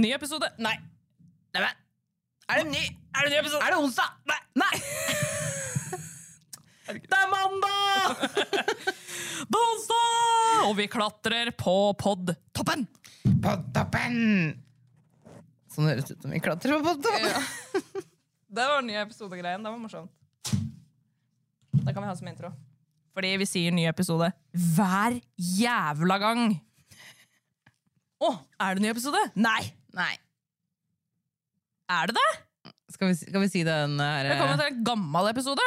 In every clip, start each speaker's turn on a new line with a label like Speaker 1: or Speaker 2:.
Speaker 1: ny episode Nei. Nei, men. Er det en ny, er det en ny episode? Er det onsdag? Nei. Det er mandag! det er onsdag! Og vi klatrer på podtoppen.
Speaker 2: Podtoppen! Sånn høres det ut som vi klatrer på podtoppen.
Speaker 1: Det var den nye episodegreien. Det var morsomt. Det kan vi ha som intro. Fordi vi sier ny episode hver jævla gang. Å, er det ny episode? Nei.
Speaker 2: Nei.
Speaker 1: Er det det?
Speaker 2: Skal vi, si- skal vi si den her eh,
Speaker 1: Velkommen til en gammel episode.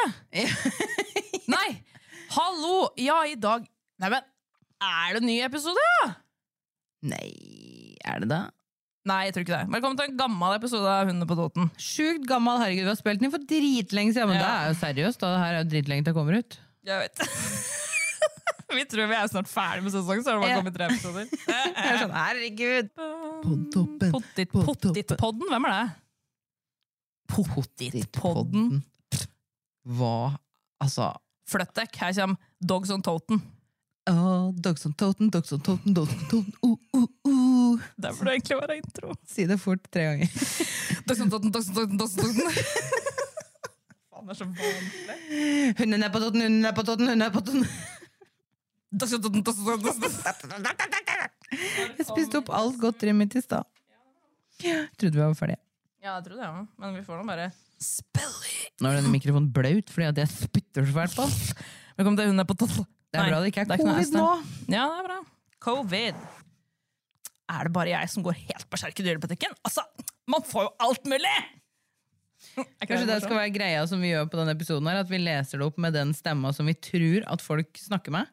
Speaker 1: Nei! Hallo! Ja, i dag Nei, men er det en ny episode, ja?
Speaker 2: Nei, er det det?
Speaker 1: Nei, jeg tror ikke det. Velkommen til en gammel episode av Hundene på Toten.
Speaker 2: Sjukt gammel, herregud, vi har spilt den for dritlenge siden. Men
Speaker 1: Ja.
Speaker 2: det er jo seriøst, da. Det her er jo dritlenge til det kommer ut.
Speaker 1: Jeg vet. vi tror vi er snart ferdig med sesongen, så har det
Speaker 2: Ja.
Speaker 1: bare kommet tre episoder.
Speaker 2: Jeg er sånn, herregud.
Speaker 3: Podtoppen.
Speaker 1: Pottit- Pottitpodden, hvem er det? Pottitpodden.
Speaker 2: Dittpodden. Hva? Altså
Speaker 1: Fløttek, her kommer Dogs on Toten.
Speaker 2: oh, Dogs on Toten, Dogs on Toten, Dogs on Toten, uh, uh, uh.
Speaker 1: Det burde egentlig være intro.
Speaker 2: Si det fort tre ganger.
Speaker 1: Dogs on Toten, Dogs on Toten, Dogs on Toten. Faen, det er så vanskelig.
Speaker 2: Hunden er på Toten, hunden er på Toten, hunden er på Toten.
Speaker 1: Dogs on Toten, Dogs on Toten, Dogs on Toten.
Speaker 2: Jeg spiste opp alt godteriet mitt i stad. Jeg Trodde vi var ferdige.
Speaker 1: Ja, jeg tror det, ja. men vi får nå bare Spelly!
Speaker 2: Nå er denne mikrofonen blaut fordi at jeg spytter så fælt på den.
Speaker 1: Velkommen til Hun er på topp.
Speaker 2: Det er bra det ikke er covid nå.
Speaker 1: Ja, det er bra. Covid. Er det bare jeg som går helt berserk i dyrebutikken? Altså, man får jo alt mulig!
Speaker 2: Kanskje det skal være greia som vi gjør på denne episoden her, at vi leser det opp med den stemma som vi tror at folk snakker med.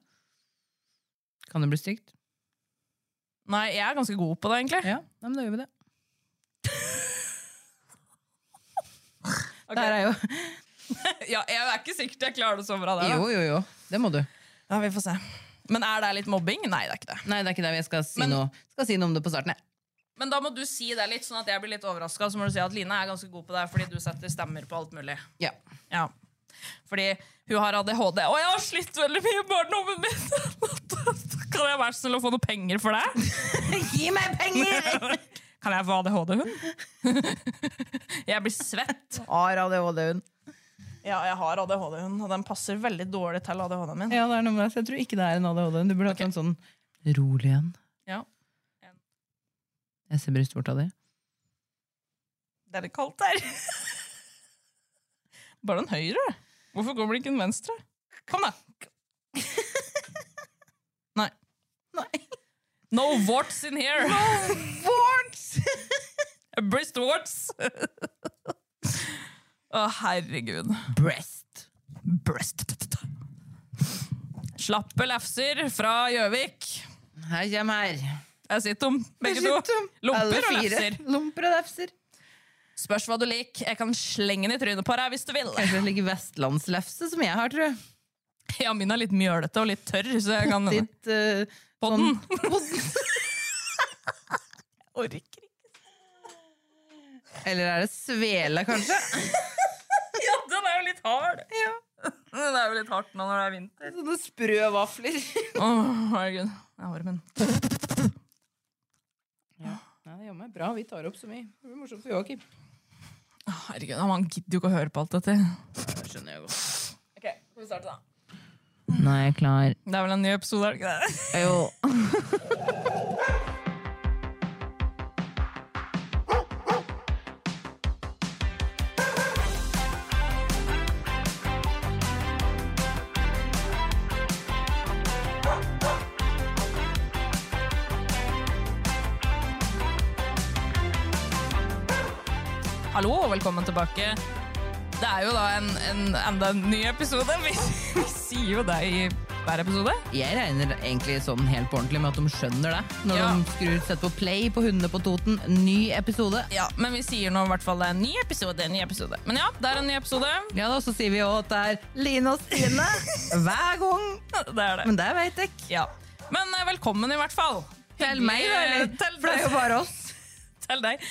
Speaker 2: Kan det bli stygt?
Speaker 1: Nei, jeg er ganske god på det, egentlig.
Speaker 2: Ja, nei, men da gjør vi det. Det her er jo
Speaker 1: Ja, jeg er ikke sikkert jeg klarer det så bra. Der, da.
Speaker 2: Jo, jo, jo. Det må du.
Speaker 1: Ja, vi får se. Men er det litt mobbing? Nei, det er ikke det.
Speaker 2: Nei, det er ikke det. Jeg skal si,
Speaker 1: Men-
Speaker 2: noe. Skal si noe om det på starten. jeg.
Speaker 1: Men da må du si det litt, sånn at jeg blir litt overraska. Så må du si at Line er ganske god på det, fordi du setter stemmer på alt mulig.
Speaker 2: Ja.
Speaker 1: Ja. Fordi hun har ADHD. Og jeg har slitt veldig mye i barndommen min! kan jeg være så snill å få noe penger for det?
Speaker 2: Gi meg penger!
Speaker 1: Kan jeg få ADHD-hund? jeg blir svett.
Speaker 2: Har ADHD-en.
Speaker 1: Ja, jeg har ADHD-hund, og den passer veldig dårlig til ADHD-en min.
Speaker 2: Ja, det er noe med det. Så jeg tror ikke det er en ADHD-en. Du burde hatt en sånn rolig en.
Speaker 1: Ja.
Speaker 2: Jeg ser brystvorta di.
Speaker 1: Det er litt kaldt her. Bare den høyre. Hvorfor kommer det ikke den venstre? Kom, da. Nei.
Speaker 2: Nei.
Speaker 1: No warts in here!
Speaker 2: Warts!
Speaker 1: Breast warts! Å, herregud.
Speaker 2: Breast.
Speaker 1: Breast. Slappe lefser fra Gjøvik.
Speaker 2: Her kommer her.
Speaker 1: Jeg sitter om begge to. Lomper
Speaker 2: Alle
Speaker 1: og
Speaker 2: fire.
Speaker 1: lefser.
Speaker 2: Lomper og lefser.
Speaker 1: Spørs hva du liker. Jeg kan slenge den i trynet på deg hvis du vil.
Speaker 2: Kanskje det ligger vestlandslefse som jeg har, tror jeg.
Speaker 1: Ja, min er litt mjølete og litt tørr. Så jeg kan
Speaker 2: Ditt eh,
Speaker 1: Podden.
Speaker 2: sånn- podden.
Speaker 1: Orker ikke.
Speaker 2: Eller er det svele, kanskje?
Speaker 1: Ja, den er jo litt hard. Den er jo litt hardt nå når det er vinter.
Speaker 2: Sånne sprø vafler.
Speaker 1: Å, herregud. Det er håret min.
Speaker 2: Nei, det gjør meg bra. Vi tar opp så mye. Det blir morsomt for
Speaker 1: Å,
Speaker 2: Joakim.
Speaker 1: Herregud, man gidder jo ikke å høre på alt dette.
Speaker 2: Det skjønner jeg godt.
Speaker 1: Ok, skal vi starte da?
Speaker 2: Nå er jeg klar.
Speaker 1: Det er vel en ny episode, er det ikke det?
Speaker 2: Jo.
Speaker 1: Hallo, og velkommen tilbake. Det er jo da en, en enda en ny episode. Vi, vi sier jo det i hver episode?
Speaker 2: Jeg regner egentlig sånn helt på ordentlig med at de skjønner det. Når
Speaker 1: Ja.
Speaker 2: de skrur setter på play på Hundene på Toten, ny episode.
Speaker 1: Ja, men vi sier nå i hvert fall det er en ny episode. en ny episode. Men ja, det er en ny episode.
Speaker 2: Ja da, så sier vi òg at det er Line og Stine hver gang.
Speaker 1: Det er det.
Speaker 2: Men det veit jeg.
Speaker 1: Ja. Men eh, velkommen i hvert fall.
Speaker 2: Til meg, da, eller?
Speaker 1: Til
Speaker 2: For det er jo
Speaker 1: deg.
Speaker 2: bare oss.
Speaker 1: Til deg.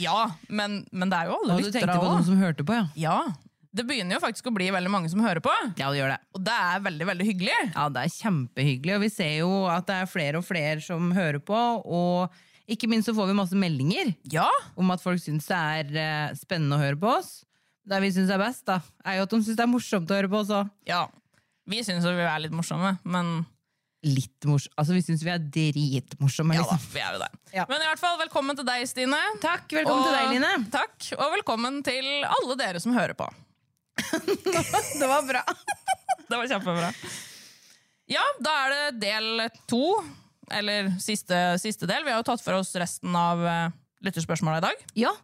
Speaker 1: Ja, men, men det er jo alle
Speaker 2: Og du
Speaker 1: lyttere
Speaker 2: tenkte på
Speaker 1: også.
Speaker 2: noen som hørte på, ja.
Speaker 1: Ja. Det begynner jo faktisk å bli veldig mange som hører på,
Speaker 2: Ja, det gjør det.
Speaker 1: og det er veldig veldig hyggelig.
Speaker 2: Ja, det er kjempehyggelig, og vi ser jo at det er flere og flere som hører på, og ikke minst så får vi masse meldinger
Speaker 1: Ja,
Speaker 2: om at folk syns det er eh, spennende å høre på oss. Det vi syns er best, da, er jo at de syns det er morsomt å høre på oss òg.
Speaker 1: ja. Vi syns jo vi er litt morsomme, men
Speaker 2: Litt morsomt. Altså, vi syns vi er dritmorsomme,
Speaker 1: ja da,
Speaker 2: liksom.
Speaker 1: vi er jo det.
Speaker 2: Ja.
Speaker 1: Men i hvert fall, velkommen til deg, Stine.
Speaker 2: Takk, velkommen til deg, Line.
Speaker 1: Takk, og velkommen til alle dere som hører på.
Speaker 2: Det var bra.
Speaker 1: Det var kjempebra. Ja, da er det del to, eller siste, siste del. Vi har jo tatt for oss resten av eh, lytterspørsmåla i dag.
Speaker 2: Ja,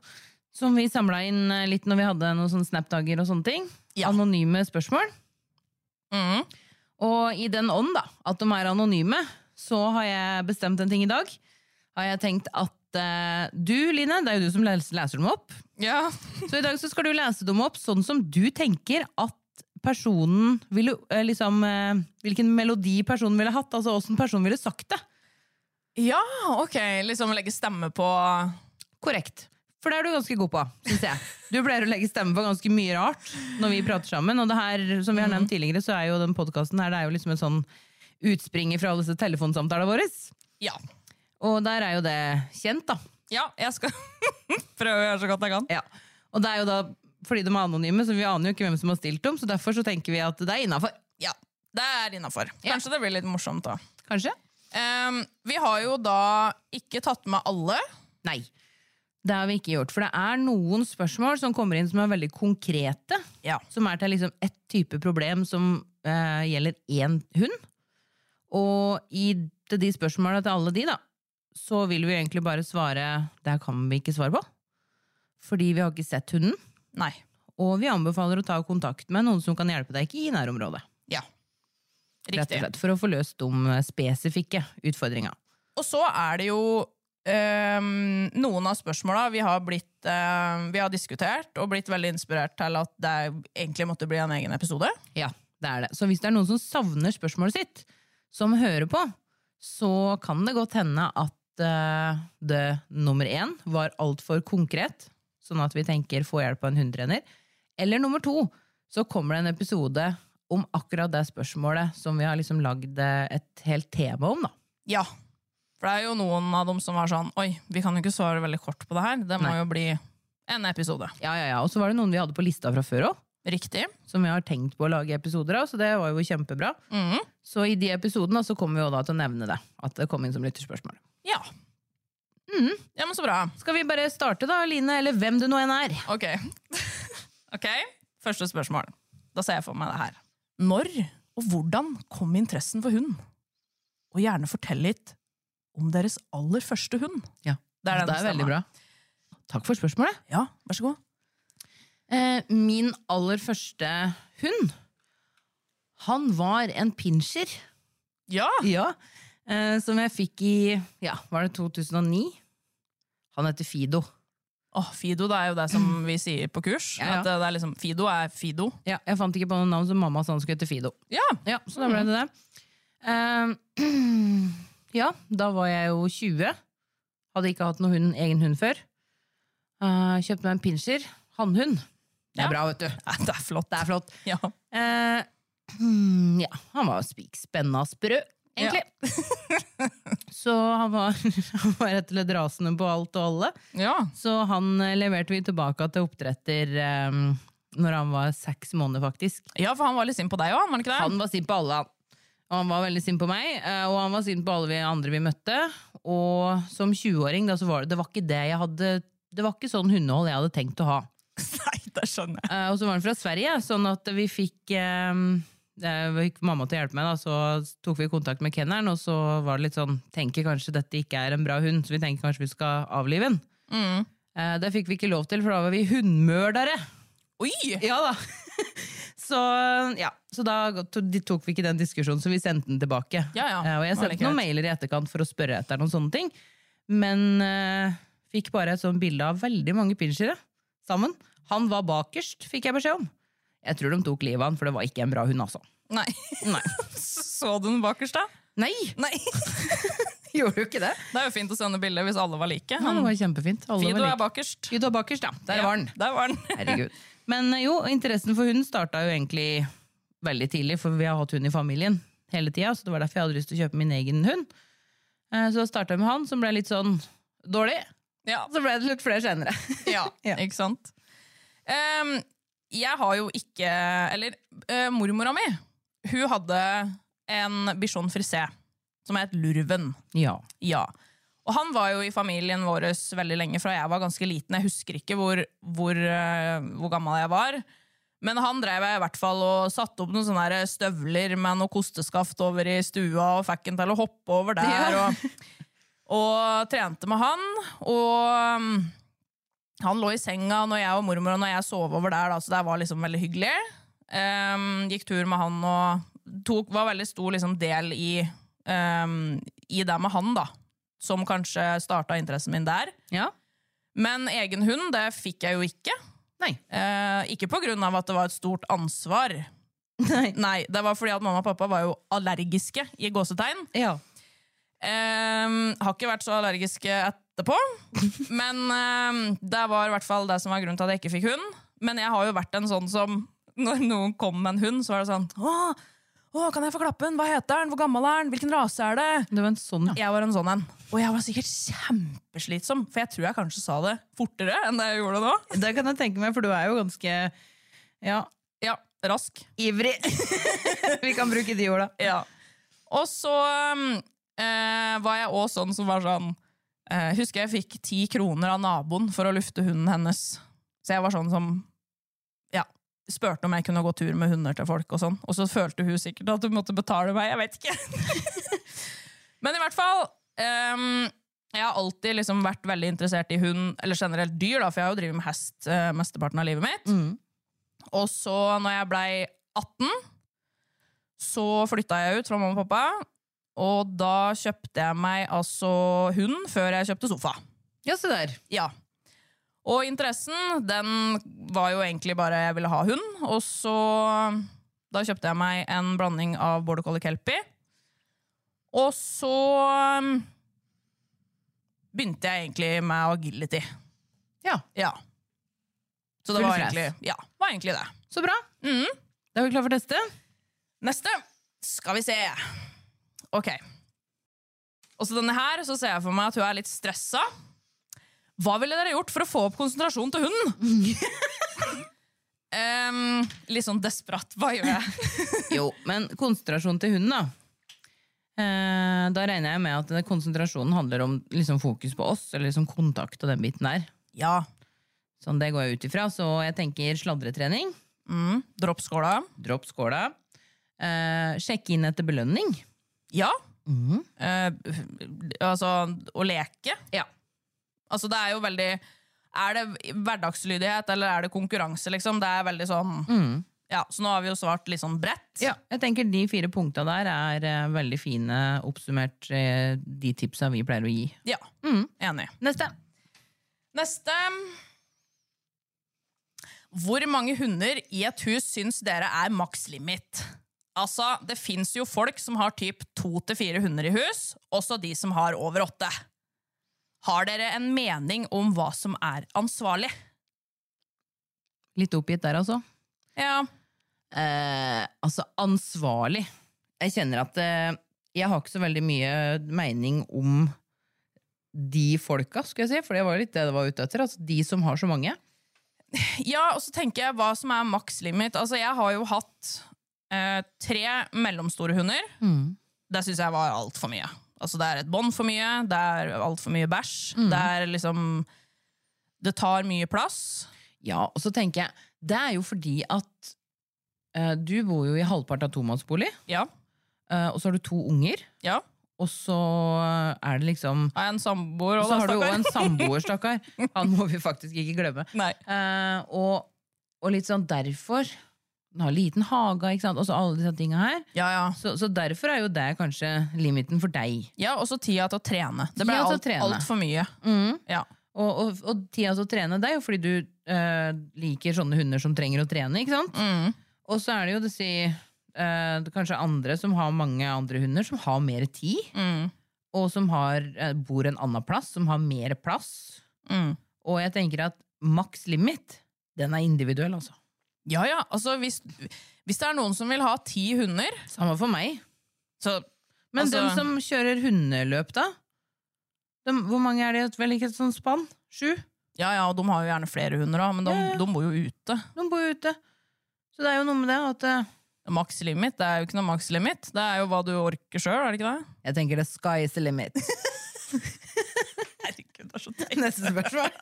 Speaker 2: som vi samla inn eh, litt når vi hadde noen sånne Snap-dager og sånne ting.
Speaker 1: Ja.
Speaker 2: Anonyme spørsmål.
Speaker 1: Mhm.
Speaker 2: Og i den ånd, da, at de er anonyme, så har jeg bestemt en ting i dag. Har jeg tenkt at eh, du, Line, det er jo du som les- leser dem opp.
Speaker 1: Ja.
Speaker 2: Så i dag så skal du lese dem opp sånn som du tenker at personen ville eh, liksom eh, Hvilken melodi personen ville hatt, altså åssen personen ville sagt det.
Speaker 1: ja, ok. Liksom legge stemme på
Speaker 2: Korrekt. For det er du ganske god på, syns jeg. Du pleier å legge stemme på ganske mye rart når vi prater sammen. Og det her, som vi har nevnt tidligere, så er jo den podkasten her det er jo liksom en sånn utspringer fra alle disse telefonsamtalene våre.
Speaker 1: Ja.
Speaker 2: Og der er jo det kjent, da.
Speaker 1: Ja, jeg skal prøve å gjøre så godt jeg kan.
Speaker 2: Ja. Og det er jo da fordi de er anonyme, så vi aner jo ikke hvem som har stilt dem. Så derfor så tenker vi at det er innafor.
Speaker 1: Ja, Det er innafor.
Speaker 2: Ja.
Speaker 1: Kanskje det blir litt morsomt, da.
Speaker 2: Kanskje?
Speaker 1: Ehm, vi har jo da ikke tatt med alle.
Speaker 2: Nei. Det har vi ikke gjort. For det er noen spørsmål som kommer inn som er veldig konkrete.
Speaker 1: Ja.
Speaker 2: Som er til liksom ett type problem som eh, gjelder én hund. Og i til de spørsmåla til alle de, da, så vil vi egentlig bare svare Det her kan vi ikke svare på. Fordi vi har ikke sett hunden.
Speaker 1: Nei.
Speaker 2: Og vi anbefaler å ta kontakt med noen som kan hjelpe deg i nærområdet.
Speaker 1: Ja.
Speaker 2: Rett og
Speaker 1: Riktig.
Speaker 2: slett, for å få løst de eh, spesifikke utfordringa.
Speaker 1: Og så er det jo ehm, noen av spørsmåla vi har blitt ehm, Vi har diskutert og blitt veldig inspirert til at det egentlig måtte bli en egen episode.
Speaker 2: Ja, det er det. Så hvis det er noen som savner spørsmålet sitt, som hører på, så kan det godt hende at eh, det nummer én var altfor konkret, sånn at vi tenker få hjelp av en hundetrener. Eller nummer to, så kommer det en episode om akkurat det spørsmålet som vi har liksom lagd eh, et helt tema om, da.
Speaker 1: Ja. For det er jo noen av dem som var sånn Oi, vi kan jo ikke svare veldig kort på det her. Det må
Speaker 2: Nei.
Speaker 1: jo bli en episode.
Speaker 2: Ja, ja, ja. Og så var det noen vi hadde på lista fra før òg,
Speaker 1: Riktig.
Speaker 2: som vi har tenkt på å lage episoder av, så det var jo kjempebra.
Speaker 1: Mhm.
Speaker 2: Så i de episodene så kommer vi jo da til å nevne det, at det kom inn som lytterspørsmål.
Speaker 1: Ja.
Speaker 2: Mm.
Speaker 1: Ja, men så bra.
Speaker 2: Skal vi bare starte da, Line, eller hvem du nå enn er?
Speaker 1: Ok. ok, Første spørsmål. Da ser jeg for meg det her. Når og hvordan kom interessen for hund? Og gjerne fortell litt om deres aller første hund.
Speaker 2: Ja.
Speaker 1: Det er, den stemmen.
Speaker 2: veldig bra. Takk for spørsmålet.
Speaker 1: Ja, vær så god.
Speaker 2: Eh, min aller første hund, han var en pinsjer.
Speaker 1: Ja!
Speaker 2: Ja. Eh, som jeg fikk i, ja, var det 2009? Han heter Fido.
Speaker 1: Åh, Fido det er jo det som vi sier på kurs.
Speaker 2: Ja, ja.
Speaker 1: At det er liksom, Fido er Fido.
Speaker 2: Ja, jeg fant ikke på noen navn, så mamma sa han skulle hete Fido.
Speaker 1: Ja,
Speaker 2: Ja, så da ble det det. Eh, ja, da var jeg jo 20. Hadde ikke hatt noen hund, egen hund før. Eh, kjøpte meg en pinsjer. Hannhund. Det
Speaker 1: Ja.
Speaker 2: er bra, vet du.
Speaker 1: Ja, Det er flott.
Speaker 2: Det er flott.
Speaker 1: Ja.
Speaker 2: Eh, hmm, ja, han var spikspenna sprø, egentlig. så han var, han var rett og slett rasende på alt og alle.
Speaker 1: Ja.
Speaker 2: Så han eh, leverte vi tilbake til oppdretter eh, når han var seks måneder, faktisk.
Speaker 1: ja, for han var litt sint på deg òg, var han ikke det?
Speaker 2: Han var sint på alle, han. Og han var veldig sint på meg, eh, og han var sint på alle vi andre vi møtte. Og som 20-åring, da, så var det, det var ikke det jeg hadde Det var ikke sånn hundehold jeg hadde tenkt å ha.
Speaker 1: Nei, det skjønner jeg.
Speaker 2: Eh, Og så var han fra Sverige, sånn at vi fikk eh, eh, vi fikk mamma til å hjelpe meg, da, så tok vi kontakt med kenneren, og så var det litt sånn Tenker kanskje dette ikke er en bra hund, så vi tenker kanskje vi skal avlive den.
Speaker 1: Mm.
Speaker 2: Eh, Det fikk vi ikke lov til, for da var vi hundmørdere!
Speaker 1: Oi!
Speaker 2: Ja da. Så, ja. så da go- to- de tok vi ikke den diskusjonen, så vi sendte den tilbake.
Speaker 1: Ja, ja.
Speaker 2: Eh, Og jeg
Speaker 1: Var det
Speaker 2: sendte noen
Speaker 1: greit?
Speaker 2: mailer i etterkant for å spørre etter noen sånne ting. Men eh, fikk bare et sånt bilde av veldig mange pinsjere sammen. Han var bakerst, fikk jeg beskjed om. Jeg tror de tok livet av han, for det var ikke en bra hund, altså.
Speaker 1: Nei.
Speaker 2: Nei.
Speaker 1: Så du den bakerst, da?
Speaker 2: Nei!
Speaker 1: Nei.
Speaker 2: Gjorde du ikke det?
Speaker 1: Det er jo fint å sende bilde hvis alle var like.
Speaker 2: Ja, det var kjempefint. Alle
Speaker 1: Fido
Speaker 2: var
Speaker 1: er
Speaker 2: like.
Speaker 1: bakerst.
Speaker 2: Fido er bakerst, ja. Der
Speaker 1: Ja,
Speaker 2: var han.
Speaker 1: Der var den.
Speaker 2: Herregud. Men eh, jo, interessen for hund starta jo egentlig veldig tidlig, for vi har hatt hund i familien hele tida, så det var derfor jeg hadde lyst til å kjøpe min egen hund. Eh, Så da starta jeg med han, som ble litt sånn dårlig.
Speaker 1: Ja.
Speaker 2: Så ble det litt flere senere.
Speaker 1: ja,
Speaker 2: Ja.
Speaker 1: ikke sant? Ehm, jeg har jo ikke Eller eh, mormora mi, hun hadde en bichon frisé som het Lurven.
Speaker 2: Ja.
Speaker 1: Ja. Og han var jo i familien vår veldig lenge fra jeg var ganske liten. Jeg husker ikke hvor, hvor, eh, hvor gammel jeg var. Men han drev jeg i hvert fall og satte opp noen sånne her støvler med noe kosteskaft over i stua og fikk han til å hoppe over der. Og, og trente med han. Og mm, han lå i senga når jeg og mormor og når jeg sov over der, da, så det var liksom veldig hyggelig. Ehm, gikk tur med han og tok, var veldig stor liksom, del i, ehm, i det med han, da. Som kanskje starta interessen min der.
Speaker 2: ja.
Speaker 1: Men egen hund, det fikk jeg jo ikke.
Speaker 2: Nei.
Speaker 1: Eh, ikke på grunn av at det var et stort ansvar.
Speaker 2: Nei.
Speaker 1: Nei, det var fordi at mamma og pappa var jo allergiske, i gåsetegn.
Speaker 2: Ja.
Speaker 1: Ehm, har ikke vært så allergiske etterpå. Men ehm, det var i hvert fall det som var grunnen til at jeg ikke fikk hund. Men jeg har jo vært en sånn som når noen kom med en hund, så var det sånn Åh, åh, kan jeg få klappe den? Hva heter den? Hvor gammel er den? Hvilken rase er det?
Speaker 2: Det var en sånn, ja.
Speaker 1: Jeg var en sånn en. Og jeg var sikkert kjempeslitsom, for jeg tror jeg kanskje sa det fortere enn det jeg gjorde nå.
Speaker 2: Det kan jeg tenke meg, for du er jo ganske ja,
Speaker 1: Ja, rask.
Speaker 2: ivrig. vi kan bruke de orda.
Speaker 1: Ja. Og så um, eh, var jeg også sånn som var sånn eh, Husker jeg fikk ti kroner av naboen for å lufte hunden hennes. Så jeg var sånn som Ja, spurte om jeg kunne gå tur med hunder til folk, og sånn. Og så følte hun sikkert at hun måtte betale meg. Jeg vet ikke. Men i hvert fall ehm, Jeg har alltid liksom vært veldig interessert i hund, eller generelt dyr, da, for jeg har jo drevet med hest eh, mesteparten av livet mitt. Og så, når jeg blei 18, så flytta jeg ut fra mamma og pappa. Og da kjøpte jeg meg altså hund før jeg kjøpte sofa.
Speaker 2: Ja, se der.
Speaker 1: Ja. Og interessen, den var jo egentlig bare jeg ville ha hund. Og så Da kjøpte jeg meg en blanding av border collie kelpie. Og så um, begynte jeg egentlig med agility.
Speaker 2: Ja,
Speaker 1: Ja. Så det
Speaker 2: Full
Speaker 1: var
Speaker 2: fres.
Speaker 1: egentlig, ja, var egentlig det.
Speaker 2: Så bra. Da er vi klar for neste.
Speaker 1: Neste skal vi se. Ok. Også denne her, så ser jeg for meg at hun er litt stressa. Hva ville dere gjort for å få opp konsentrasjonen til hunden? Em, litt sånn desperat. Hva gjør jeg?
Speaker 2: Jo, men konsentrasjon til hunden, da. Eh, da regner jeg med at den konsentrasjonen handler om liksom, fokus på oss, eller liksom, kontakt og den biten der.
Speaker 1: Ja,
Speaker 2: Sånn det går jeg ut ifra. Så jeg tenker sladretrening,
Speaker 1: mm, Dropp skåla.
Speaker 2: dropp skåla, eh, sjekke inn etter belønning.
Speaker 1: Ja. Eh, altså å leke.
Speaker 2: Ja.
Speaker 1: Altså, det er jo veldig Er det hverdagslydighet, eller er det konkurranse, liksom? Det er veldig sånn Ja, så nå har vi jo svart litt sånn bredt.
Speaker 2: Jeg tenker de fire punkta der er eh, veldig fine oppsummert, eh, de tipsa vi pleier å gi.
Speaker 1: Ja, Enig.
Speaker 2: Neste.
Speaker 1: Neste. Hvor mange hunder i et hus syns dere er makslimit? Altså, det fins jo folk som har typ to til fire hunder i hus, også de som har over åtte. Har dere en mening om hva som er ansvarlig?
Speaker 2: Litt oppgitt der, altså.
Speaker 1: Ja.
Speaker 2: eh, altså ansvarlig. Jeg kjenner at eh, jeg har ikke så veldig mye mening om de folka, skulle jeg si, for det var jo litt det det var ute etter. Altså de som har så mange.
Speaker 1: ja, og så tenker jeg hva som er makslimit. Altså, jeg har jo hatt eh, tre mellomstore hunder.
Speaker 2: Mm.
Speaker 1: Det syns jeg var altfor mye. Altså, det er et bånd for mye, det er altfor mye bæsj.
Speaker 2: Mm.
Speaker 1: Det er liksom Det tar mye plass.
Speaker 2: Ja, og så tenker jeg, det er jo fordi at eh, du bor jo i halvpart av tomannsbolig,
Speaker 1: Ja.
Speaker 2: eh, og så har du to unger,
Speaker 1: ja.
Speaker 2: og så er det liksom
Speaker 1: Har jeg en samboer
Speaker 2: Og
Speaker 1: og
Speaker 2: så har du jo
Speaker 1: stakkar?
Speaker 2: en samboer, stakkar. Han må vi faktisk ikke glemme.
Speaker 1: Nei.
Speaker 2: Eh, og, og litt sånn derfor den har liten hage, ikke sant? og så alle disse tinga her.
Speaker 1: Ja, ja.
Speaker 2: Så, så derfor er jo det kanskje limiten for deg.
Speaker 1: Ja, og så tida til å trene. Det ble
Speaker 2: Tida til å
Speaker 1: alt-
Speaker 2: trene. Mm.
Speaker 1: altfor mye. Ja.
Speaker 2: Og, og, og tida til å trene, det er jo fordi du eh, liker sånne hunder som trenger å trene, ikke sant?
Speaker 1: Mm.
Speaker 2: Og så er det jo det si, eh, det kanskje andre som har mange andre hunder, som har mer tid,
Speaker 1: Mm.
Speaker 2: og som har, eh, bor en annen plass, som har mer plass.
Speaker 1: Mm.
Speaker 2: Og jeg tenker at maks limit, den er individuell, altså.
Speaker 1: Ja, ja. Altså, hvis, hvis det er noen som vil ha ti hunder,
Speaker 2: Samme for meg.
Speaker 1: så
Speaker 2: Men
Speaker 1: Altså-
Speaker 2: dem som kjører hundeløp, da? Dem- hvor mange er det i et vel ikke et sånt spann? Sju?
Speaker 1: Ja, ja, og de har jo gjerne flere hunder, da, men de,
Speaker 2: Ja, ja.
Speaker 1: de bor jo ute.
Speaker 2: De bor jo ute. Så det er jo noe med det at eh,
Speaker 1: Maks limit, det er jo ikke noe maks limit. Det er jo hva du orker sjøl, er det ikke det?
Speaker 2: Jeg tenker the sky is the limit.
Speaker 1: Herregud, det er så teit.
Speaker 2: Neste spørsmål.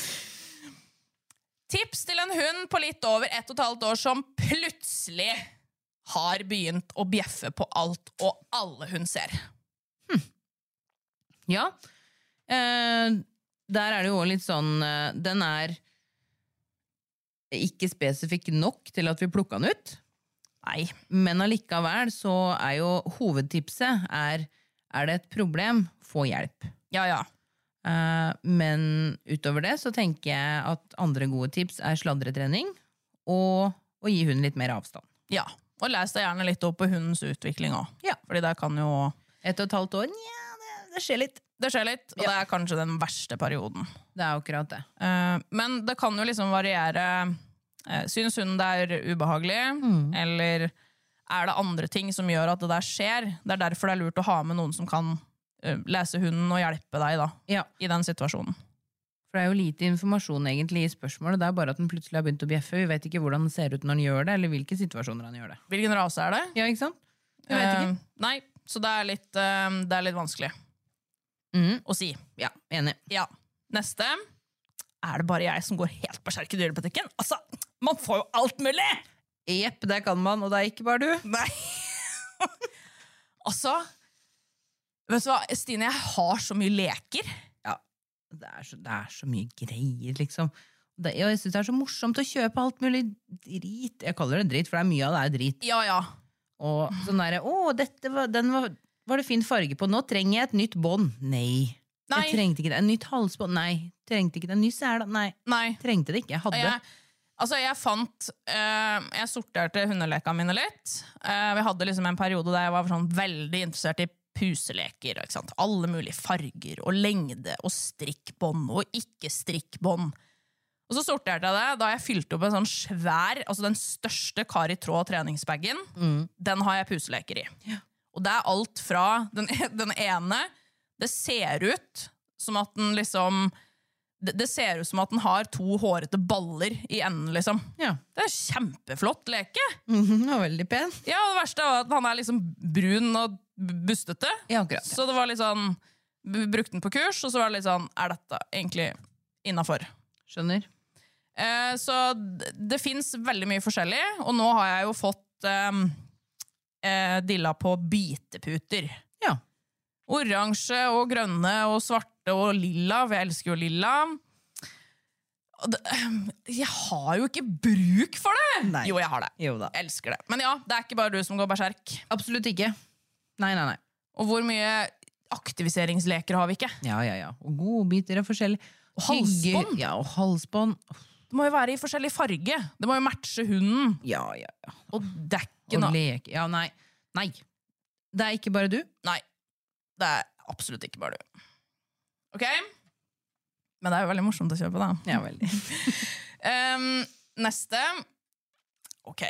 Speaker 1: Tips til en hund på litt over ett og et halvt år som plutselig har begynt å bjeffe på alt og alle hun ser.
Speaker 2: Ja. Eh, der er det jo også litt sånn eh, Den er ikke spesifikk nok til at vi plukka den ut,
Speaker 1: Nei.
Speaker 2: men allikevel så er jo hovedtipset er, er det et problem, få hjelp.
Speaker 1: Ja, ja.
Speaker 2: Eh, men utover det så tenker jeg at andre gode tips er sladretrening og å gi hunden litt mer avstand.
Speaker 1: ja. Og les deg gjerne litt opp på hundens utvikling òg.
Speaker 2: Ja.
Speaker 1: Fordi der kan jo
Speaker 2: Ett og et halvt år, nja, det, det skjer litt.
Speaker 1: Det skjer litt, og det er kanskje den verste perioden.
Speaker 2: Det er akkurat det.
Speaker 1: Eh, men det kan jo liksom variere. Uh, syns hun det er ubehagelig,
Speaker 2: Mm.
Speaker 1: eller er det andre ting som gjør at det der skjer? Det er derfor det er lurt å ha med noen som kan eh, lese hunden og hjelpe deg da,
Speaker 2: Ja.
Speaker 1: i den situasjonen.
Speaker 2: For det er jo lite informasjon egentlig i spørsmålet. Det er bare at den plutselig har begynt å bjeffe. Vi vet ikke hvordan den ser ut når den gjør det, eller hvilke situasjoner han gjør det.
Speaker 1: Hvilken rase er det?
Speaker 2: Ja, ikke sant? Jeg vet ikke.
Speaker 1: Eh, nei, så det er litt, eh, det er litt vanskelig
Speaker 2: Mhm.
Speaker 1: å si.
Speaker 2: Ja, enig.
Speaker 1: Ja. Neste. Er det bare jeg som går helt berserk i dyrebutikken? Altså, man får jo alt mulig!
Speaker 2: Jepp, det kan man, og det er ikke bare du.
Speaker 1: Nei. altså Vet du hva, Stine, jeg har så mye leker.
Speaker 2: Det er så, det er så mye greier, liksom. Det, ja, jeg syns det er så morsomt å kjøpe alt mulig drit. Jeg kaller det drit, for det er mye av det er drit.
Speaker 1: Ja, ja.
Speaker 2: Og sånn derre Å, dette var, den var, var det fin farge på. Nå trenger jeg et nytt bånd. Nei.
Speaker 1: Nei.
Speaker 2: Jeg trengte ikke det. En nytt halsbånd. Nei. Trengte ikke det. En ny sele. Nei.
Speaker 1: Nei.
Speaker 2: Trengte det ikke. Jeg hadde.
Speaker 1: Jeg, altså, jeg fant eh, Jeg sorterte hundelekene mine litt. Eh, vi hadde liksom en periode der jeg var sånn veldig interessert i puseleker. Ikke sant? Alle mulige farger og lengde og strikkbånd og ikke-strikkbånd. Og så sorterte jeg det da jeg fylte opp en sånn svær, altså den største kar i tråd treningsbagen. Den har jeg puseleker i. Og det er alt fra den, den ene Det ser ut som at den liksom det, det ser ut som at den har to hårete baller i enden, liksom.
Speaker 2: Ja.
Speaker 1: Det er kjempeflott leke!
Speaker 2: Mhm, det var veldig pen.
Speaker 1: Ja, og Det verste var at han er liksom brun og b- bustete.
Speaker 2: Ja, akkurat, ja.
Speaker 1: Så det var litt sånn b- Brukte den på kurs, og så var det litt sånn Er dette egentlig innafor?
Speaker 2: Skjønner.
Speaker 1: Eh, så d- det fins veldig mye forskjellig, og nå har jeg jo fått eh, eh, dilla på biteputer.
Speaker 2: Ja.
Speaker 1: Oransje og grønne og svarte og lilla, for jeg elsker jo lilla. Og det, jeg har jo ikke bruk for det!
Speaker 2: Nei.
Speaker 1: Jo, jeg har det.
Speaker 2: Jo da.
Speaker 1: Jeg elsker det. Men ja, det er ikke bare du som går berserk.
Speaker 2: Absolutt ikke. Nei, nei, nei.
Speaker 1: Og hvor mye aktiviseringsleker har vi ikke?
Speaker 2: Ja, ja, ja. Og godbiter er forskjellig. Og
Speaker 1: halsbånd.
Speaker 2: Ja, og halsbånd.
Speaker 1: Det må jo være i forskjellig farge. Det må jo matche hunden.
Speaker 2: Ja, ja, ja.
Speaker 1: Og det er ikke
Speaker 2: Og
Speaker 1: noe
Speaker 2: leke. Ja, nei. Nei. Det er ikke bare du.
Speaker 1: Nei. Det er absolutt ikke bare du. Ok? Men det er jo veldig morsomt å kjøpe, da.
Speaker 2: Ja, veldig.
Speaker 1: Ehm, neste. Ok.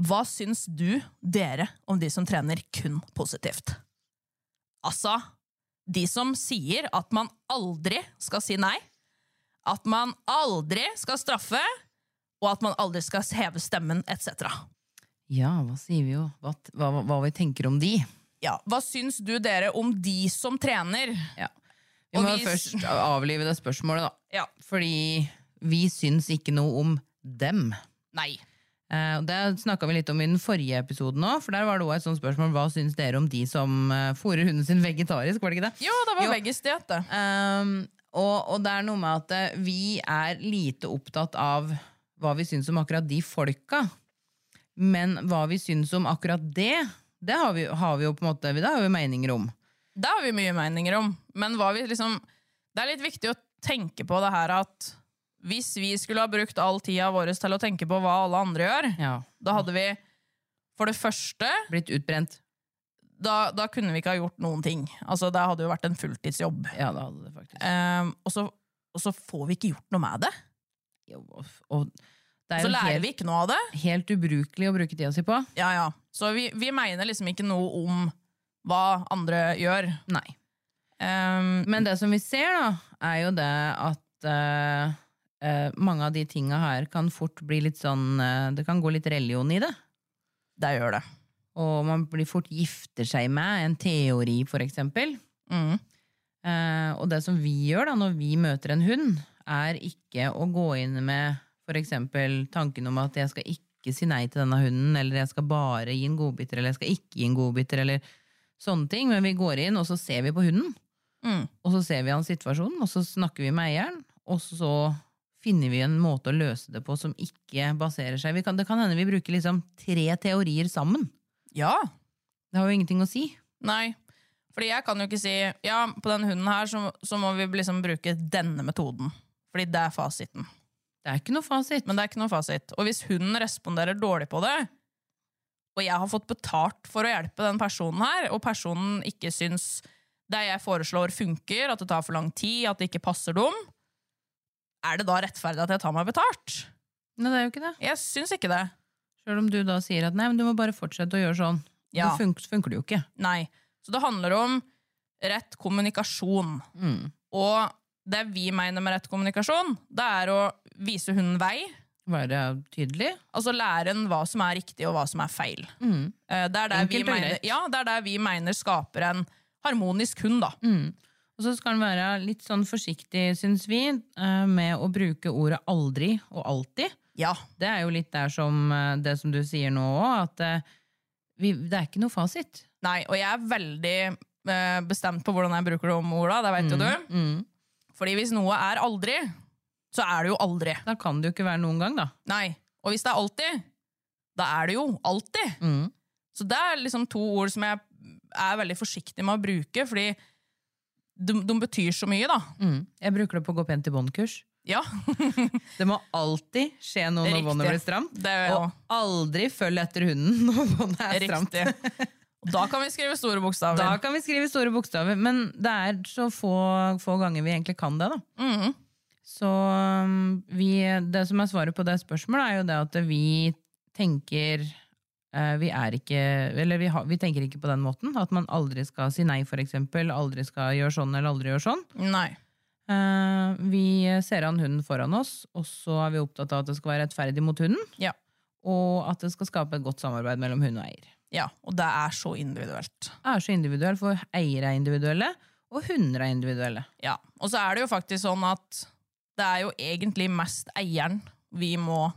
Speaker 1: Hva syns du, dere, om de som trener kun positivt? Altså, de som sier at man aldri skal si nei, at man aldri skal straffe, og at man aldri skal heve stemmen, etc.
Speaker 2: Ja, hva sier vi jo? Hva, hva, hva vi tenker om de?
Speaker 1: Ja, hva syns du, dere, om de som trener?
Speaker 2: Vi
Speaker 1: Og
Speaker 2: må
Speaker 1: vi-
Speaker 2: først avlive det spørsmålet, da.
Speaker 1: Ja.
Speaker 2: Fordi vi syns ikke noe om dem.
Speaker 1: Nei.
Speaker 2: Eh, og Det snakka vi litt om i den forrige episoden òg, for der var det også et sånt spørsmål hva syns dere om de som eh, fôrer hunden sin vegetarisk, var det ikke det?
Speaker 1: Jo, det var
Speaker 2: Jo. Ehm,
Speaker 1: begges det, det.
Speaker 2: Um, og, og det er noe med at eh, vi er lite opptatt av hva vi syns om akkurat de folka. Men hva vi syns om akkurat det, det har vi, har vi jo på en måte Det har vi meninger om.
Speaker 1: Det har vi mye meninger om. Men hva vi liksom, det er litt viktig å tenke på det her at hvis vi skulle ha brukt all tida vår til å tenke på hva alle andre gjør,
Speaker 2: Ja.
Speaker 1: da hadde vi for det første
Speaker 2: Blitt utbrent.
Speaker 1: da, da kunne vi ikke ha gjort noen ting. Altså, Det hadde jo vært en fulltidsjobb.
Speaker 2: Ja, det hadde det faktisk.
Speaker 1: Ehm, og, så, og så får vi ikke gjort noe med det.
Speaker 2: Jo, og, og det er
Speaker 1: Så
Speaker 2: jo
Speaker 1: lærer
Speaker 2: helt,
Speaker 1: vi ikke noe av det.
Speaker 2: helt ubrukelig å bruke tida si på.
Speaker 1: Ja, ja. Så vi, vi mener liksom ikke noe om hva andre gjør.
Speaker 2: Nei.
Speaker 1: Ehm,
Speaker 2: Men det som vi ser, da, er jo det at eh, eh, mange av de tinga her kan fort bli litt sånn eh, Det kan gå litt religion i det.
Speaker 1: det gjør det.
Speaker 2: Og man blir fort gifter seg med en teori, for eksempel.
Speaker 1: Mm.
Speaker 2: Eh, og det som vi gjør da når vi møter en hund, er ikke å gå inn med for eksempel tanken om at jeg skal ikke si nei til denne hunden, eller jeg skal bare gi en godbiter, eller jeg skal ikke gi en godbiter, eller sånne ting. Men vi går inn, og så ser vi på hunden,
Speaker 1: Mm.
Speaker 2: og så ser vi hans situasjon, og så snakker vi med eieren, og så finner vi en måte å løse det på som ikke baserer seg vi kan, Det kan hende vi bruker liksom tre teorier sammen.
Speaker 1: Ja.
Speaker 2: Det har jo ingenting å si.
Speaker 1: Nei. Fordi jeg kan jo ikke si Ja, på den hunden her så, så må vi liksom bruke denne metoden. Fordi det er fasiten.
Speaker 2: Det er ikke noe fasit.
Speaker 1: Men det er ikke noe fasit. Og hvis hunden responderer dårlig på det, og jeg har fått betalt for å hjelpe den personen her, og personen ikke syns det jeg foreslår funker, at det tar for lang tid, at det ikke passer dem, er det da rettferdig at jeg tar meg betalt?
Speaker 2: Nei, det er jo ikke det.
Speaker 1: Jeg syns ikke det.
Speaker 2: Selv om du da sier at nei, men du må bare fortsette å gjøre sånn.
Speaker 1: Ja.
Speaker 2: Så funker, funker det jo ikke.
Speaker 1: Nei. Så det handler om rett kommunikasjon.
Speaker 2: Mm.
Speaker 1: Og det vi mener med rett kommunikasjon, det er å vise hunden vei.
Speaker 2: Være tydelig.
Speaker 1: Altså lære den hva som er riktig, og hva som er feil. Eh, Det, er der vi
Speaker 2: Mm. Enkelt og
Speaker 1: mener,
Speaker 2: greit.
Speaker 1: ja, det er der vi mener skaper en harmonisk hund, da.
Speaker 2: Mm. Og så skal en være litt sånn forsiktig, syns vi, eh, med å bruke ordet aldri og alltid.
Speaker 1: Ja.
Speaker 2: Det er jo litt der som eh, det som du sier nå òg, at eh, vi, det er ikke noe fasit.
Speaker 1: Nei, og jeg er veldig eh, bestemt på hvordan jeg bruker det om orda, det
Speaker 2: Mm.
Speaker 1: vet jo du. Fordi hvis noe er aldri, så er det jo aldri.
Speaker 2: Da kan det jo ikke være noen gang, da.
Speaker 1: Nei. Og hvis det er alltid, da er det jo alltid.
Speaker 2: Mm.
Speaker 1: Så det er liksom to ord som jeg er veldig forsiktig med å bruke, fordi de, de betyr så mye,
Speaker 2: Mm.
Speaker 1: da.
Speaker 2: Jeg bruker det på gå pent i bånd-kurs.
Speaker 1: Ja,
Speaker 2: Det må alltid skje noe når
Speaker 1: Riktig.
Speaker 2: båndet blir stramt.
Speaker 1: Det gjør jeg
Speaker 2: og
Speaker 1: også.
Speaker 2: aldri følg etter hunden når båndet er stramt.
Speaker 1: riktig. Og da kan vi skrive store bokstaver.
Speaker 2: Da kan vi skrive store bokstaver, men det er så få, få ganger vi egentlig kan det. da.
Speaker 1: Mm,
Speaker 2: Så um, vi, det som er svaret på det spørsmålet, er jo det at vi tenker eh, vi er ikke Eller vi, har- vi tenker ikke på den måten. At man aldri skal si nei, for eksempel. Aldri skal gjøre sånn eller aldri gjøre sånn.
Speaker 1: Nei.
Speaker 2: Eh, vi ser an hunden foran oss, og så er vi opptatt av at det skal være rettferdig mot hunden.
Speaker 1: Ja.
Speaker 2: Og at det skal skape et godt samarbeid mellom hund og eier.
Speaker 1: ja. Og det er så individuelt.
Speaker 2: er så individuell, for eiere er individuelle, og hunder er individuelle.
Speaker 1: Ja. Og så er det jo faktisk sånn at det er jo egentlig mest eieren vi må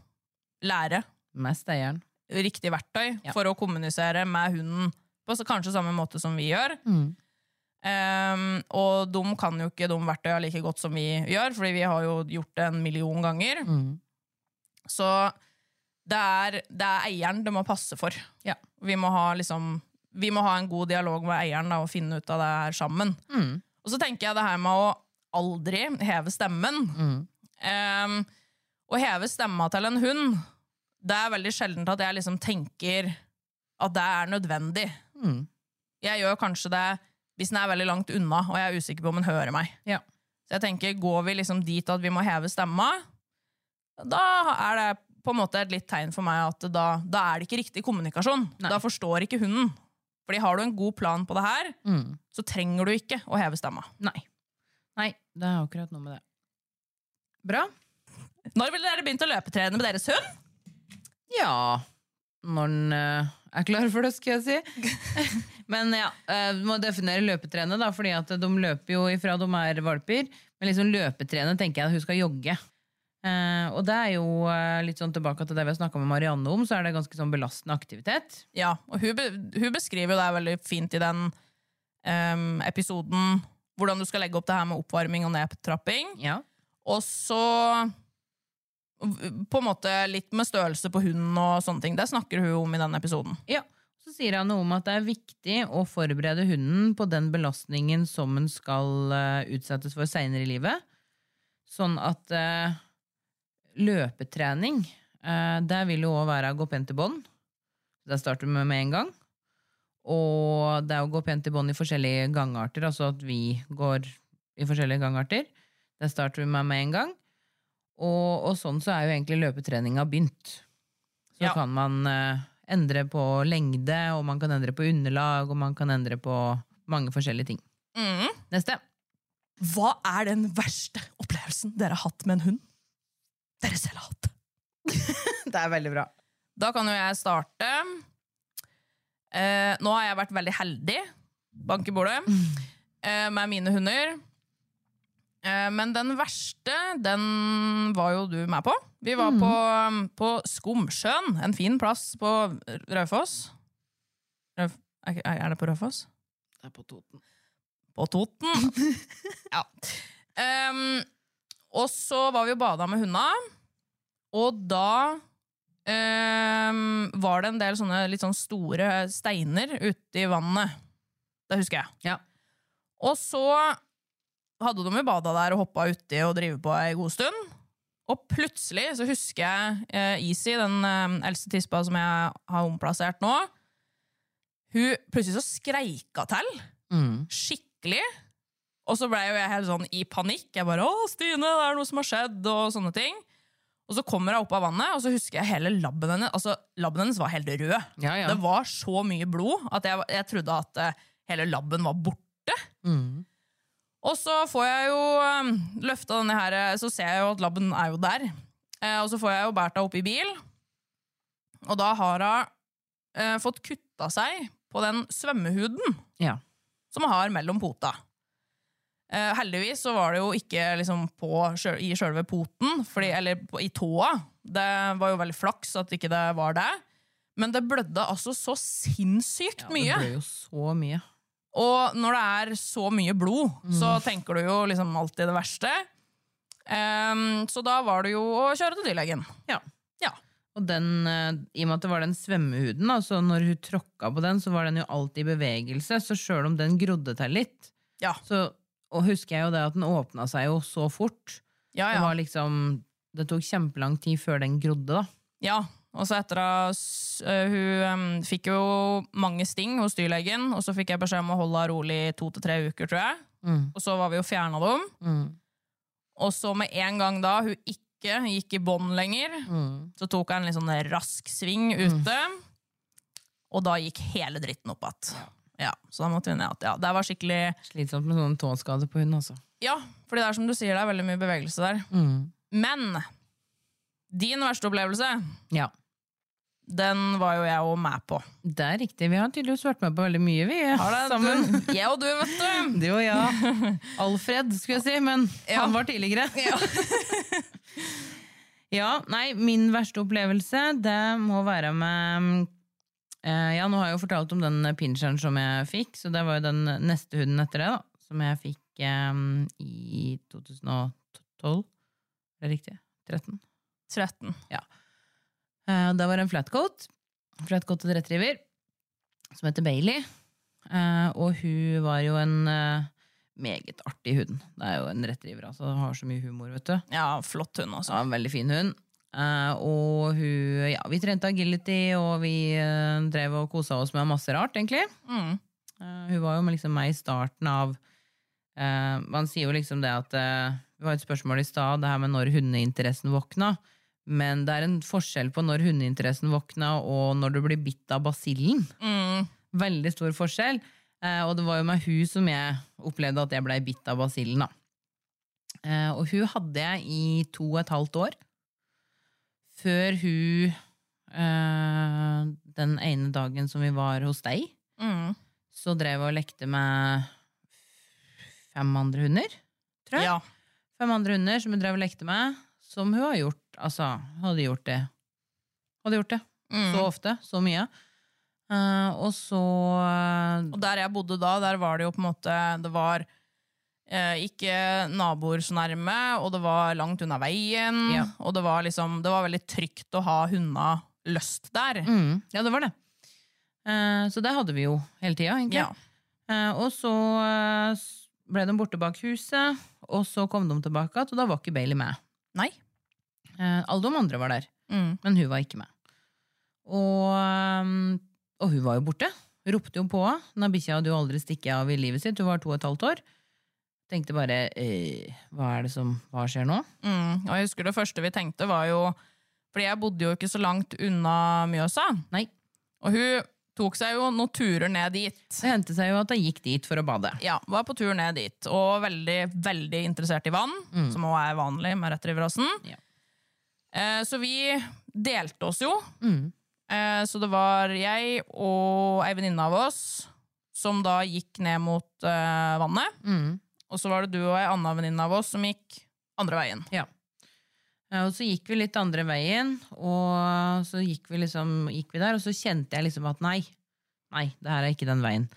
Speaker 1: lære
Speaker 2: Mest eieren.
Speaker 1: riktig verktøy
Speaker 2: Ja.
Speaker 1: for å kommunisere med hunden på så- kanskje samme måte som vi gjør.
Speaker 2: Mm.
Speaker 1: Ehm, og de kan jo ikke de verktøya like godt som vi gjør, fordi vi har jo gjort det en million ganger.
Speaker 2: Mm.
Speaker 1: Så det er, det er eieren det må passe for.
Speaker 2: Ja.
Speaker 1: Vi, må ha liksom, vi må ha en god dialog med eieren da, og finne ut av det her sammen.
Speaker 2: Mm.
Speaker 1: Og så tenker jeg det her med å aldri heve stemmen.
Speaker 2: Mm.
Speaker 1: Ehm, å heve stemma til en hund, det er veldig sjeldent at jeg liksom tenker at det er nødvendig. Jeg gjør kanskje det hvis den er veldig langt unna, og jeg er usikker på om den hører meg.
Speaker 2: Ja.
Speaker 1: Så jeg tenker, går vi liksom dit at vi må heve stemma, da er det på en måte et litt tegn for meg at da, da er det ikke riktig kommunikasjon. Da forstår ikke hunden. Fordi har du en god plan på det her, så trenger du ikke å heve stemma.
Speaker 2: Nei. Mm. Nei, det er akkurat noe med det. Bra.
Speaker 1: Når ville dere begynt å løpetrene med deres hund?
Speaker 2: Ja, når den eh, er klar for det, skal jeg si. Men ja, eh, vi må definere løpetrene, da, fordi at de løper jo ifra de er valper. Men liksom løpetrene tenker jeg at hun skal jogge. Eh, og det er jo eh, litt sånn tilbake til det vi har snakka med Marianne om, så er det ganske sånn belastende aktivitet.
Speaker 1: Ja, og hun, be- hun beskriver jo det veldig fint i den em, episoden hvordan du skal legge opp det her med oppvarming og nedtrapping.
Speaker 2: Ja.
Speaker 1: Og så på en måte litt med størrelse på hunden og sånne ting. Det snakker hun om i den episoden.
Speaker 2: Ja. Så sier han noe om at det er viktig å forberede hunden på den belastningen som den skal eh, utsettes for seinere i livet. Sånn at eh, løpetrening eh, Der vil jo òg være å gå pent i bånd. Der starter vi med en gang. Og det er å gå pent i bånd i forskjellige gangarter, altså at vi går i forskjellige gangarter. Der starter vi med med en gang. Og, og sånn så er jo egentlig løpetreninga begynt. Så
Speaker 1: Ja.
Speaker 2: kan man eh, endre på lengde, og man kan endre på underlag, og man kan endre på mange forskjellige ting.
Speaker 1: Mm.
Speaker 2: Neste.
Speaker 1: Hva er den verste opplevelsen dere har hatt med en hund? Dere selv har hatt.
Speaker 2: Det er veldig bra.
Speaker 1: Da kan jo jeg starte. Eh, nå har jeg vært veldig heldig, bank i bordet, eh, med mine hunder. Eh, men den verste, den var jo du med på. Vi var
Speaker 2: Mm.
Speaker 1: på, um, på Skomsjøen, en fin plass på Raufoss. Rauf, er ikke- er det på Raufoss?
Speaker 2: Det er på Toten.
Speaker 1: På Toten. ja. Ehm, og så var vi og bada med hundene, og da ehm, var det en del sånne litt sånn store steiner ute i vannet. Det husker jeg.
Speaker 2: Ja.
Speaker 1: Og så hadde de jo bada der og hoppa uti og drevet på ei god stund. Og plutselig så husker jeg eh, Easy, den eh, eldste tispa som jeg har omplassert nå, hun plutselig så skreika til
Speaker 2: Mm.
Speaker 1: skikkelig. Og så ble jo jeg helt sånn i panikk. Jeg bare 'Å, Stine, det er noe som har skjedd', og sånne ting. Og så kommer hun opp av vannet, og så husker jeg hele labben hennes. Altså, labben hennes var helt rød.
Speaker 2: Ja, ja.
Speaker 1: Det var så mye blod at jeg, jeg trodde at eh, hele labben var borte.
Speaker 2: Mm.
Speaker 1: Og så får jeg jo um, løfta denne her, eh, så ser jeg jo at labben er jo der. Eh, og så får jeg jo båret henne opp i bil, og da har hun eh, fått kutta seg på den svømmehuden
Speaker 2: ja.
Speaker 1: som har mellom pota. Eh, heldigvis så var det jo ikke liksom på, sjøl- i sjølve poten, fordi,
Speaker 2: Mm.
Speaker 1: eller på, i tåa. Det var jo veldig flaks at ikke det var det. Men det blødde altså så sinnssykt mye.
Speaker 2: Det ble jo så mye.
Speaker 1: Og når det er så mye blod, så
Speaker 2: Mm.
Speaker 1: tenker du jo liksom alltid det verste. Ehm, så da var det jo å kjøre til dyrlegen.
Speaker 2: Ja.
Speaker 1: Ja.
Speaker 2: Og den, eh, I og med at det var den svømmehuden, da, så når hun tråkka på den, så var den jo alltid i bevegelse. Så sjøl om den grodde til litt,
Speaker 1: Ja.
Speaker 2: så og husker jeg jo det at den åpna seg jo så fort.
Speaker 1: Ja,
Speaker 2: Det
Speaker 1: ja.
Speaker 2: var liksom Det tok kjempelang tid før den grodde, da.
Speaker 1: ja. Og så etter at s- eh, hun ehm, fikk jo mange sting hos dyrlegen, og så fikk jeg beskjed om å holde henne rolig i to til tre uker, tror jeg. Og så var vi jo fjerna dem.
Speaker 2: Mm.
Speaker 1: Og så med en gang da hun ikke gikk i bånd lenger, så tok jeg en litt sånn rask sving ute. Og da gikk hele dritten opp igjen. Ja, så da måtte vi ned igjen. Ja, det var skikkelig
Speaker 2: Slitsomt med sånn tåskade på hund, altså.
Speaker 1: Ja, fordi det er som du sier, det er veldig mye bevegelse der. Men din verste opplevelse,
Speaker 2: Ja.
Speaker 1: den var jo jeg òg med på.
Speaker 2: Det er riktig. Vi har tydeligvis vært med på veldig mye, vi. sammen.
Speaker 1: Du, jeg og du, vet du.
Speaker 2: Du og jeg. Alfred, skulle jeg si, men
Speaker 1: Ja.
Speaker 2: han var tidligere. Ja. nei, min verste opplevelse, det må være med eh, Ja, nå har jeg jo fortalt om den pinsjeren som jeg fikk, så det var jo den neste hunden etter det, da, som jeg fikk eh, i 2012. Er det riktig? 13?
Speaker 1: 13.
Speaker 2: Eh, og Da var det en flatcoat. Flatcoated retriever som heter Bailey. Eh, og hun var jo en eh, meget artig hund. Det er jo en retriever, altså. Den har så mye humor, vet du.
Speaker 1: Ja, flott hund,
Speaker 2: Så det
Speaker 1: altså.
Speaker 2: var en veldig fin hund. Eh, og hun Ja, vi trente agility, og vi eh, drev og kosa oss med masse rart, egentlig.
Speaker 1: Mm.
Speaker 2: Eh, hun var jo med liksom meg i starten av eh, Man sier jo liksom det at eh, Det var et spørsmål i stad, det her med når hundeinteressen våkna. Men det er en forskjell på når hundeinteressen våkna, og når du blir bitt av basillen.
Speaker 1: Mm.
Speaker 2: Veldig stor forskjell. Eh, og det var jo med hun som jeg opplevde at jeg blei bitt av basillen, da. Eh, og hun hadde jeg i to og et halvt år. Før hun eh, Den ene dagen som vi var hos deg,
Speaker 1: Mm.
Speaker 2: så drev jeg og lekte med fem andre hunder. Tror jeg.
Speaker 1: Ja.
Speaker 2: Fem andre hunder som hun drev og lekte med, som hun har gjort. Altså, hun hadde gjort det. Hun Hadde gjort det.
Speaker 1: Mm.
Speaker 2: Så ofte. Så mye. Eh, og så
Speaker 1: Og der jeg bodde da, der var det jo på en måte Det var eh, ikke naboer så nærme, og det var langt unna veien.
Speaker 2: Ja.
Speaker 1: Og det var, liksom, det var veldig trygt å ha hundene løst der.
Speaker 2: Mm, ja, det var det. Eh, så det hadde vi jo hele tida, egentlig.
Speaker 1: Ja.
Speaker 2: Eh, og så eh, s- ble de borte bak huset, og så kom de tilbake igjen, og da var ikke Bailey med.
Speaker 1: Nei.
Speaker 2: Eh, alle de andre var der,
Speaker 1: Mm.
Speaker 2: men hun var ikke med. Og, ehm, og hun var jo borte. Ropte jo på henne. Den bikkja hadde jo aldri stikket av i livet sitt. Hun var to og et halvt år. Tenkte bare eh, hva er det som hva skjer nå?
Speaker 1: Mm. Og jeg husker det første vi tenkte var jo Fordi jeg bodde jo ikke så langt unna Mjøsa.
Speaker 2: Nei.
Speaker 1: Og hun tok seg jo noen turer ned dit.
Speaker 2: Det hendte seg jo at jeg gikk dit for å bade.
Speaker 1: Ja, var på tur ned dit, og veldig, veldig interessert i vann, som også er vanlig med retrieveråsen.
Speaker 2: Mm. Ja.
Speaker 1: Eh, så vi delte oss jo.
Speaker 2: Mm.
Speaker 1: Eh, så det var jeg og ei venninne av oss som da gikk ned mot eh, vannet.
Speaker 2: Mm.
Speaker 1: Og så var det du og ei anna venninne av oss som gikk andre veien.
Speaker 2: Eh, Og så gikk vi litt andre veien, og så gikk vi, liksom, gikk vi der, og så kjente jeg liksom at nei, nei, det her er ikke den veien.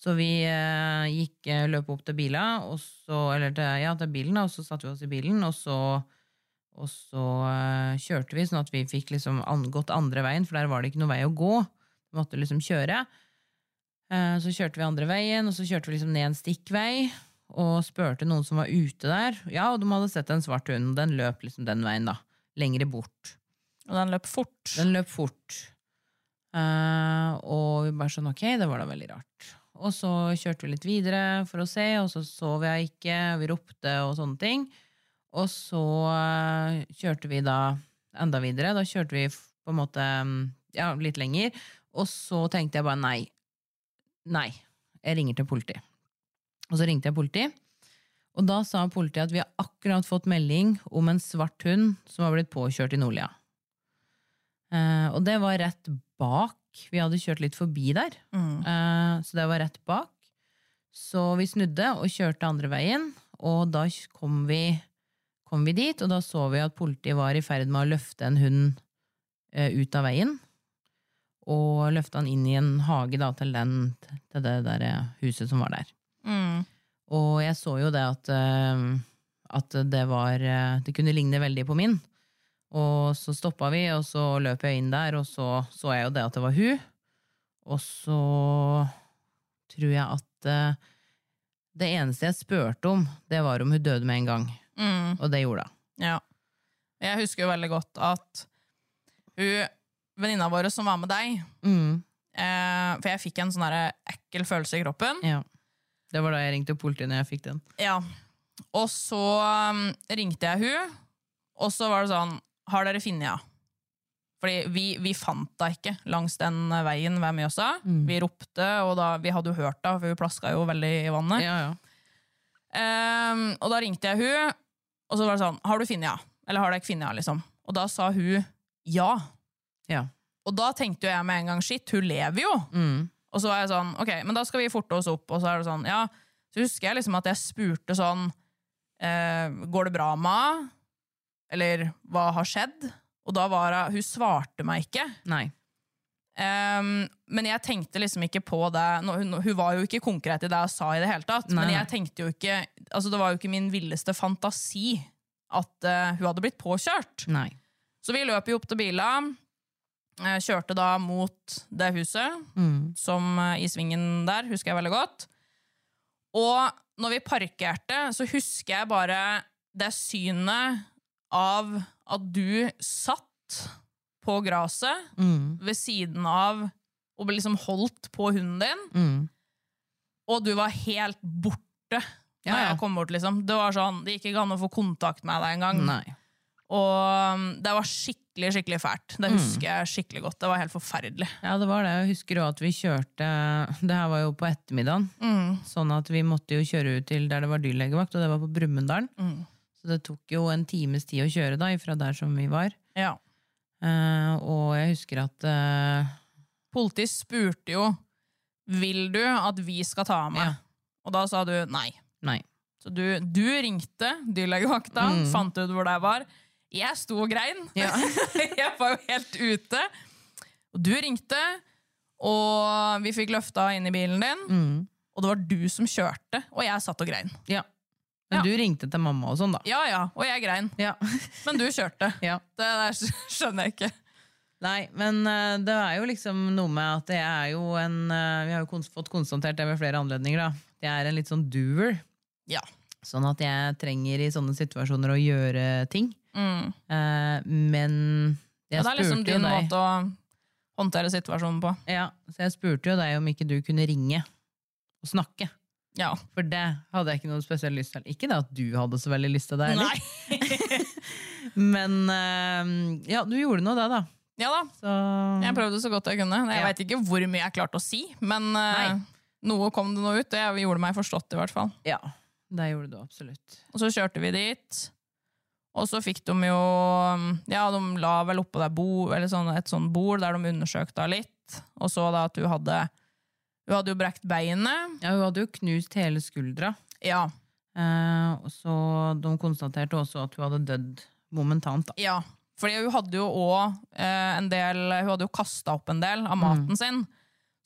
Speaker 2: Så vi eh, gikk, eh, løp opp til bila, og så, eller til, ja, til bilen, da, og så satte vi oss i bilen, og så, og så eh, kjørte vi, sånn at vi fikk liksom an, gått andre veien, for der var det ikke noen vei å gå. Vi måtte liksom kjøre. Eh, så kjørte vi andre veien, og så kjørte vi liksom ned en stikkvei, og spurte noen som var ute der. Ja, og de hadde sett en svart hund, og den løp liksom den veien, da. Lengre bort.
Speaker 1: Og den løp fort.
Speaker 2: Den løp fort. Eh, og vi bare sånn, ok, det var da veldig rart. Og så kjørte vi litt videre for å se, og så sov jeg ikke, og vi ropte og sånne ting. Og så eh, kjørte vi da enda videre. Da kjørte vi f- på en måte mm, ja, litt lenger. Og så tenkte jeg bare nei. Nei. Jeg ringer til politiet. Og så ringte jeg politiet. Og da sa politiet at vi har akkurat fått melding om en svart hund som har blitt påkjørt i Nordlia. Eh, og det var rett bak. Vi hadde kjørt litt forbi der,
Speaker 1: Mm.
Speaker 2: eh, så det var rett bak. Så vi snudde og kjørte andre veien, og da kj- kom vi, kom vi dit, og da så vi at politiet var i ferd med å løfte en hund eh, ut av veien. Og løfte han inn i en hage da, til, den, til det der eh, huset som var der.
Speaker 1: Mm.
Speaker 2: Og jeg så jo det at, eh, at det var eh, Det kunne ligne veldig på min. Og så stoppa vi, og så løp jeg inn der, og så så jeg jo det at det var hun. Og så tror jeg at eh, det eneste jeg spurte om, det var om hun døde med en gang.
Speaker 1: Mm.
Speaker 2: Og det gjorde hun.
Speaker 1: Ja. Jeg husker jo veldig godt at hun, venninna vår som var med deg
Speaker 2: Mm,
Speaker 1: eh, For jeg fikk en sånn derre ekkel følelse i kroppen.
Speaker 2: ja. Det var da jeg ringte politiet når jeg fikk den.
Speaker 1: Ja. Og så um, ringte jeg hun, og så var det sånn Har dere funnet henne? Fordi vi, vi fant henne ikke langs den veien ved Mjøsa.
Speaker 2: Mm.
Speaker 1: Vi ropte, og da, vi hadde jo hørt henne, for hun plaska jo veldig i vannet.
Speaker 2: Ja, ja.
Speaker 1: Ehm, og da ringte jeg hun, og så var det sånn, har du finnet henne? Eller har du ikke finnet henne, liksom? Og da sa hun, ja.
Speaker 2: Ja.
Speaker 1: Og da tenkte jo jeg med en gang, shit, hun lever jo.
Speaker 2: Mm,
Speaker 1: Og så var jeg sånn, ok, men da skal vi forte oss opp, og så er det sånn, ja. Så husker jeg liksom at jeg spurte sånn, eh, går det bra med henne? Eller hva har skjedd? Og da var hun, hun svarte meg ikke.
Speaker 2: nei.
Speaker 1: Ehm, men jeg tenkte liksom ikke på det nå, hun, hun var jo ikke konkret i det jeg sa i det hele tatt.
Speaker 2: Nei,
Speaker 1: men
Speaker 2: nei.
Speaker 1: jeg tenkte jo ikke Altså det var jo ikke min villeste fantasi at eh, hun hadde blitt påkjørt.
Speaker 2: Nei.
Speaker 1: Så vi løp jo opp til bila. eh, Kjørte da mot det huset,
Speaker 2: Mm,
Speaker 1: som eh, i svingen der, husker jeg veldig godt. Og når vi parkerte, så husker jeg bare det synet av at du satt på gresset
Speaker 2: mm,
Speaker 1: ved siden av og ble liksom holdt på hunden din,
Speaker 2: mm.
Speaker 1: og du var helt borte
Speaker 2: Ja,
Speaker 1: når
Speaker 2: ja.
Speaker 1: jeg kom bort. liksom. Det var sånn, det gikk ikke an å få kontakt med deg engang.
Speaker 2: Nei.
Speaker 1: Og um, det var skikkelig skikkelig fælt.
Speaker 2: Mm.
Speaker 1: Det husker jeg skikkelig godt. Det var helt forferdelig.
Speaker 2: Ja, det var det. Jeg husker også at vi kjørte Det her var jo på ettermiddagen, sånn at vi måtte jo kjøre ut til der det var dyrlegevakt, og det var på Brumunddal.
Speaker 1: Mm.
Speaker 2: Så det tok jo en times tid å kjøre da, ifra der som vi var.
Speaker 1: Ja.
Speaker 2: Eh, og jeg husker at eh,
Speaker 1: Politiet spurte jo vil du at vi skal ta med.
Speaker 2: Ja.
Speaker 1: Og da sa du nei.
Speaker 2: Nei.
Speaker 1: Så du, du ringte dyrlegevakta, fant ut hvor det var. Jeg sto og grein.
Speaker 2: Mm. Ja.
Speaker 1: jeg var jo helt ute. Og du ringte,
Speaker 2: Mm.
Speaker 1: og vi fikk løfta inn i bilen din. Og det var du som kjørte, og jeg satt og grein.
Speaker 2: Ja. Men
Speaker 1: Ja.
Speaker 2: du ringte til mamma og sånn, da.
Speaker 1: Ja ja, og jeg grein.
Speaker 2: Ja.
Speaker 1: Men du kjørte.
Speaker 2: ja.
Speaker 1: Det der skjønner jeg ikke.
Speaker 2: Nei, men eh, det er jo liksom noe med at det er jo en eh, Vi har jo kons- fått konstatert det ved flere anledninger, da. Jeg er en litt sånn doer.
Speaker 1: Ja.
Speaker 2: Sånn at jeg trenger i sånne situasjoner å gjøre ting.
Speaker 1: Mm.
Speaker 2: Eh, men jeg
Speaker 1: Ja, det er liksom
Speaker 2: spurte jo
Speaker 1: din
Speaker 2: deg
Speaker 1: måte å håndtere situasjonen på.
Speaker 2: ja, Så jeg spurte jo deg om ikke du kunne ringe og snakke.
Speaker 1: Ja.
Speaker 2: For det hadde jeg ikke noe spesielt lyst til. Ikke det at du hadde så veldig lyst til det heller. Men eh, ja, du gjorde nå det, da.
Speaker 1: ja da,
Speaker 2: Så
Speaker 1: jeg prøvde så godt jeg kunne. Jeg
Speaker 2: Mm. Ja.
Speaker 1: vet ikke hvor mye jeg klarte å si, men eh,
Speaker 2: Nei.
Speaker 1: noe kom det nå ut. Det gjorde meg forstått, i hvert fall.
Speaker 2: Ja, det gjorde du absolutt.
Speaker 1: Og så kjørte vi dit. Og så fikk de jo mm, Ja, de la vel oppå der bo, eller sånn, et sånn bord der de undersøkte henne litt. Og så da at hun hadde Hun hadde jo brekt beinet.
Speaker 2: Ja, hun hadde jo knust hele skuldra.
Speaker 1: Ja.
Speaker 2: Eh, og så de konstaterte også at hun hadde dødd momentant. Da.
Speaker 1: ja. Fordi hun hadde jo òg eh, en del Hun hadde jo kasta opp en del av maten
Speaker 2: Mm.
Speaker 1: sin.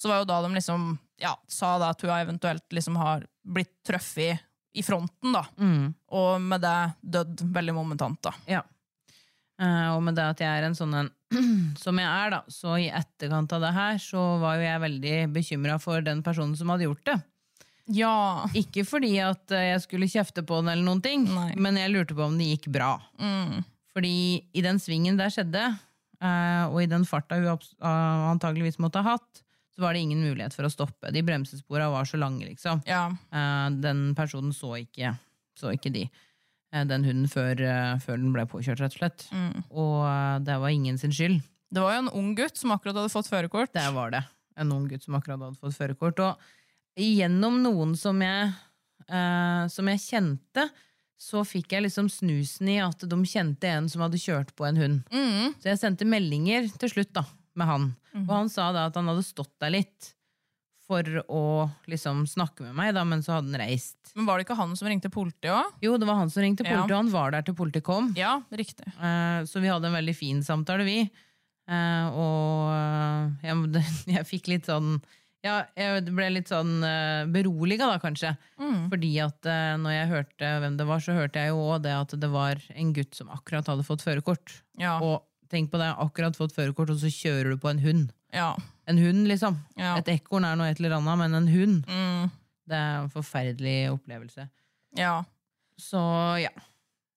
Speaker 1: Så var jo da de liksom ja, sa da at hun eventuelt liksom har blitt truffet i fronten, da.
Speaker 2: Mm.
Speaker 1: Og med det dødd veldig momentant, da.
Speaker 2: Ja. Eh, og med det at jeg er en sånn en som jeg er, da, så i etterkant av det her, så var jo jeg veldig bekymra for den personen som hadde gjort det.
Speaker 1: Ja.
Speaker 2: Ikke fordi at eh, jeg skulle kjefte på den, eller noen ting,
Speaker 1: Nei.
Speaker 2: men jeg lurte på om det gikk bra.
Speaker 1: Mm.
Speaker 2: Fordi i den svingen der skjedde, eh, og i den farta hun abs- eh, antageligvis måtte ha hatt, så var det ingen mulighet for å stoppe. De bremsespora var så lange, liksom.
Speaker 1: Ja.
Speaker 2: Eh, Den personen så ikke, så ikke de. eh, Den hunden før, eh, før den ble påkjørt, rett og slett.
Speaker 1: Mm.
Speaker 2: Og eh, det var ingen sin skyld.
Speaker 1: Det var jo en ung gutt som akkurat hadde fått førerkort.
Speaker 2: Der var det en ung gutt som akkurat hadde fått førerkort. Og gjennom noen som jeg, eh, som jeg kjente, så fikk jeg liksom snusen i at de kjente en som hadde kjørt på en hund.
Speaker 1: Mm.
Speaker 2: Så jeg sendte meldinger til slutt da, med han. Og han sa da at han hadde stått der litt for å liksom snakke med meg, da, men så hadde han reist.
Speaker 1: Men var det ikke han som ringte politiet òg?
Speaker 2: Jo, det var han som ringte politiet,
Speaker 1: Ja.
Speaker 2: og han var der til politiet kom.
Speaker 1: Ja, riktig.
Speaker 2: Eh, Så vi hadde en veldig fin samtale, vi. Eh, Og eh, jeg, det- jeg fikk litt sånn Ja, jeg ble litt sånn beroliga, da, kanskje.
Speaker 1: Mm.
Speaker 2: Fordi at eh, når jeg hørte hvem det var, så hørte jeg jo òg det at det var en gutt som akkurat hadde fått førerkort.
Speaker 1: Ja.
Speaker 2: Og tenk på det, akkurat fått førerkort, og så kjører du på en hund.
Speaker 1: ja.
Speaker 2: En hund, liksom.
Speaker 1: Ja.
Speaker 2: Et ekorn er noe et eller annet, men en hund,
Speaker 1: Mm.
Speaker 2: det er en forferdelig opplevelse.
Speaker 1: ja.
Speaker 2: Så ja.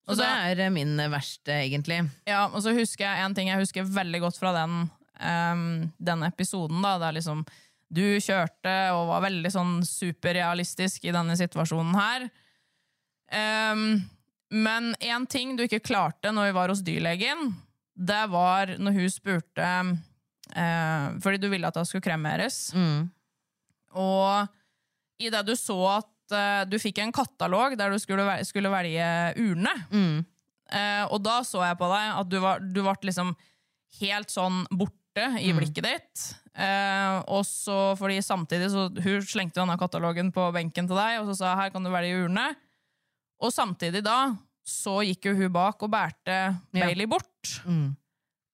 Speaker 2: Så
Speaker 1: Og
Speaker 2: det
Speaker 1: da-
Speaker 2: er eh, min verste, egentlig.
Speaker 1: Ja, og så husker jeg en ting jeg husker veldig godt fra den, ehm, den episoden. da, Det er liksom Du kjørte og var veldig sånn superrealistisk i denne situasjonen her. Ehm, men én ting du ikke klarte når vi var hos dyrlegen, det var når hun spurte eh, Fordi du ville at hun skulle kremeres. Og i det du så at eh, du fikk en katalog der du skulle, vel- skulle velge urne. Eh, og da så jeg på deg at du var, du ble liksom helt sånn borte i blikket ditt. Eh, og så fordi samtidig så Hun slengte jo denne katalogen på benken til deg og så sa her kan du velge urne. Og samtidig da så gikk jo hun bak og bærte Bailey bort.
Speaker 2: Mm.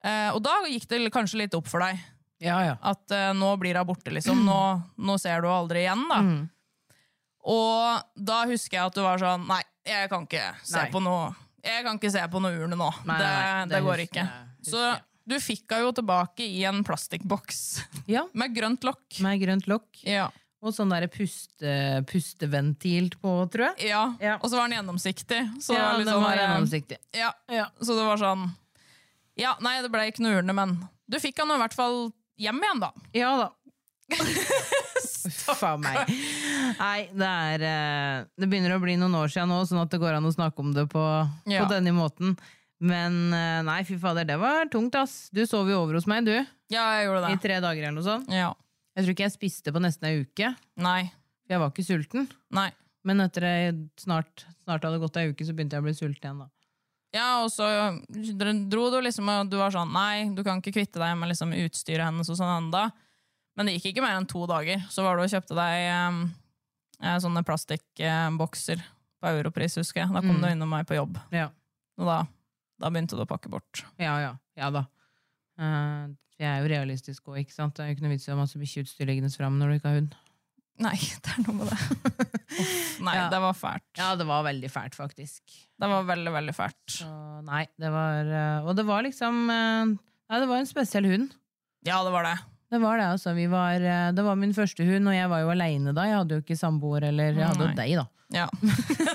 Speaker 1: Eh, og da gikk det kanskje litt opp for deg
Speaker 2: Ja, ja.
Speaker 1: at eh, nå blir hun borte, liksom. Nå, nå ser du henne aldri igjen, da.
Speaker 2: Mm.
Speaker 1: Og da husker jeg at du var sånn Nei, jeg kan ikke se
Speaker 2: Nei.
Speaker 1: på noe Jeg kan ikke se på noe urne nå.
Speaker 2: Nei,
Speaker 1: det,
Speaker 2: nei,
Speaker 1: det,
Speaker 2: det
Speaker 1: går
Speaker 2: husker
Speaker 1: ikke.
Speaker 2: jeg,
Speaker 1: Så
Speaker 2: husker jeg.
Speaker 1: du fikk henne jo tilbake i en plastikkboks
Speaker 2: Ja,
Speaker 1: med grønt lokk.
Speaker 2: med grønt lokk.
Speaker 1: Ja.
Speaker 2: Og sånn der puste, pusteventil på, tror jeg.
Speaker 1: ja.
Speaker 2: Ja.
Speaker 1: Og så var den gjennomsiktig. Så
Speaker 2: ja,
Speaker 1: det var litt
Speaker 2: den
Speaker 1: sånn
Speaker 2: var
Speaker 1: der, eh,
Speaker 2: gjennomsiktig.
Speaker 1: ja. Så det var sånn Ja, nei, det ble ikke noe urne, men du fikk henne i hvert fall hjem igjen, da.
Speaker 2: Ja da. Uff a meg. Nei, det er eh, Det begynner å bli noen år siden nå, sånn at det går an å snakke om det på,
Speaker 1: Ja.
Speaker 2: på denne måten. Men eh, nei, fy fader, det var tungt, ass. Du sov jo over hos meg, du.
Speaker 1: Ja, jeg gjorde
Speaker 2: I
Speaker 1: det.
Speaker 2: tre dager eller noe sånt.
Speaker 1: Ja.
Speaker 2: Jeg tror ikke jeg spiste på nesten ei uke.
Speaker 1: Nei.
Speaker 2: For jeg var ikke sulten.
Speaker 1: Nei.
Speaker 2: Men etter jeg snart, snart hadde gått ei uke, så begynte jeg å bli sulten igjen, da.
Speaker 1: Ja, og så dro du liksom, og du var sånn Nei, du kan ikke kvitte deg med liksom utstyret hennes og sånn enda. Men det gikk ikke mer enn to dager. Så var du og kjøpte deg eh, eh, sånne plastikkbokser på Europris, husker jeg. Da kom
Speaker 2: Mm.
Speaker 1: du innom meg på jobb,
Speaker 2: Ja.
Speaker 1: og da, da begynte du å pakke bort.
Speaker 2: Ja, ja. Ja da. Eh, jeg er jo realistisk òg, ikke sant. Det er jo ikke noe vits i å ha masse bikkjeutstyr liggende fram når du ikke har hund.
Speaker 1: Nei, det er noe med det. Uff, nei,
Speaker 2: Ja.
Speaker 1: det var fælt.
Speaker 2: Ja, det var veldig fælt, faktisk.
Speaker 1: Det var veldig, veldig fælt.
Speaker 2: Så, nei, det var eh, Og det var liksom eh, Nei, det var en spesiell hund.
Speaker 1: Ja, det var det.
Speaker 2: Det var det, altså. Vi var, eh, det var min første hund, og jeg var jo aleine da. Jeg hadde jo ikke samboer, eller jeg hadde jo
Speaker 1: Nei.
Speaker 2: deg, da.
Speaker 1: Ja.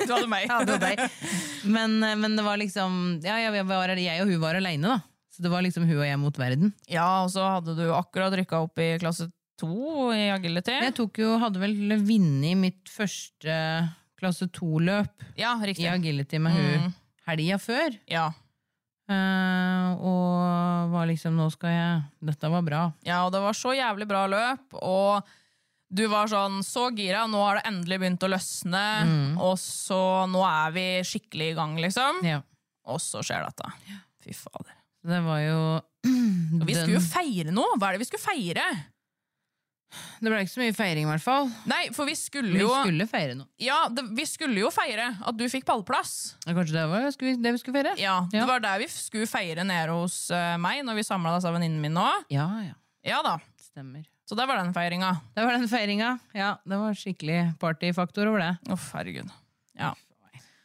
Speaker 1: Du hadde meg.
Speaker 2: Jeg hadde jo deg. Men, eh, men det var liksom Ja, jeg, var, jeg og hun var aleine, da. Så det var liksom hun og jeg mot verden.
Speaker 1: Ja, og så hadde du akkurat rykka opp i klasse to i agility.
Speaker 2: Men jeg tok jo, hadde vel vunnet mitt første eh, klasse to-løp
Speaker 1: Ja,
Speaker 2: i
Speaker 1: riktig.
Speaker 2: agility med hun helga før.
Speaker 1: Ja.
Speaker 2: Eh, og var liksom Nå skal jeg Dette var bra.
Speaker 1: ja, og det var så jævlig bra løp, og du var sånn så gira, nå har det endelig begynt å løsne, og så nå er vi skikkelig i gang, liksom.
Speaker 2: Mm. Ja.
Speaker 1: Og så skjer dette. Fy fader.
Speaker 2: Så Det var jo
Speaker 1: Og vi
Speaker 2: den-
Speaker 1: skulle jo feire noe! Hva er det vi skulle feire?
Speaker 2: Det ble ikke så mye feiring, i hvert fall.
Speaker 1: Nei, for vi skulle
Speaker 2: Vi
Speaker 1: jo
Speaker 2: skulle feire noe.
Speaker 1: Ja, det, vi skulle jo feire at du fikk pallplass.
Speaker 2: Ja, Kanskje det var skulle vi- det vi skulle feire?
Speaker 1: Ja, Det
Speaker 2: Ja.
Speaker 1: var der vi f- skulle feire nede hos eh, meg, når vi samla oss av venninnen min nå.
Speaker 2: ja, ja.
Speaker 1: Ja da,
Speaker 2: Stemmer.
Speaker 1: Så det var den feiringa.
Speaker 2: Det var den feiringa. Ja, det var skikkelig partyfaktor over det.
Speaker 1: Uff, herregud. Ja.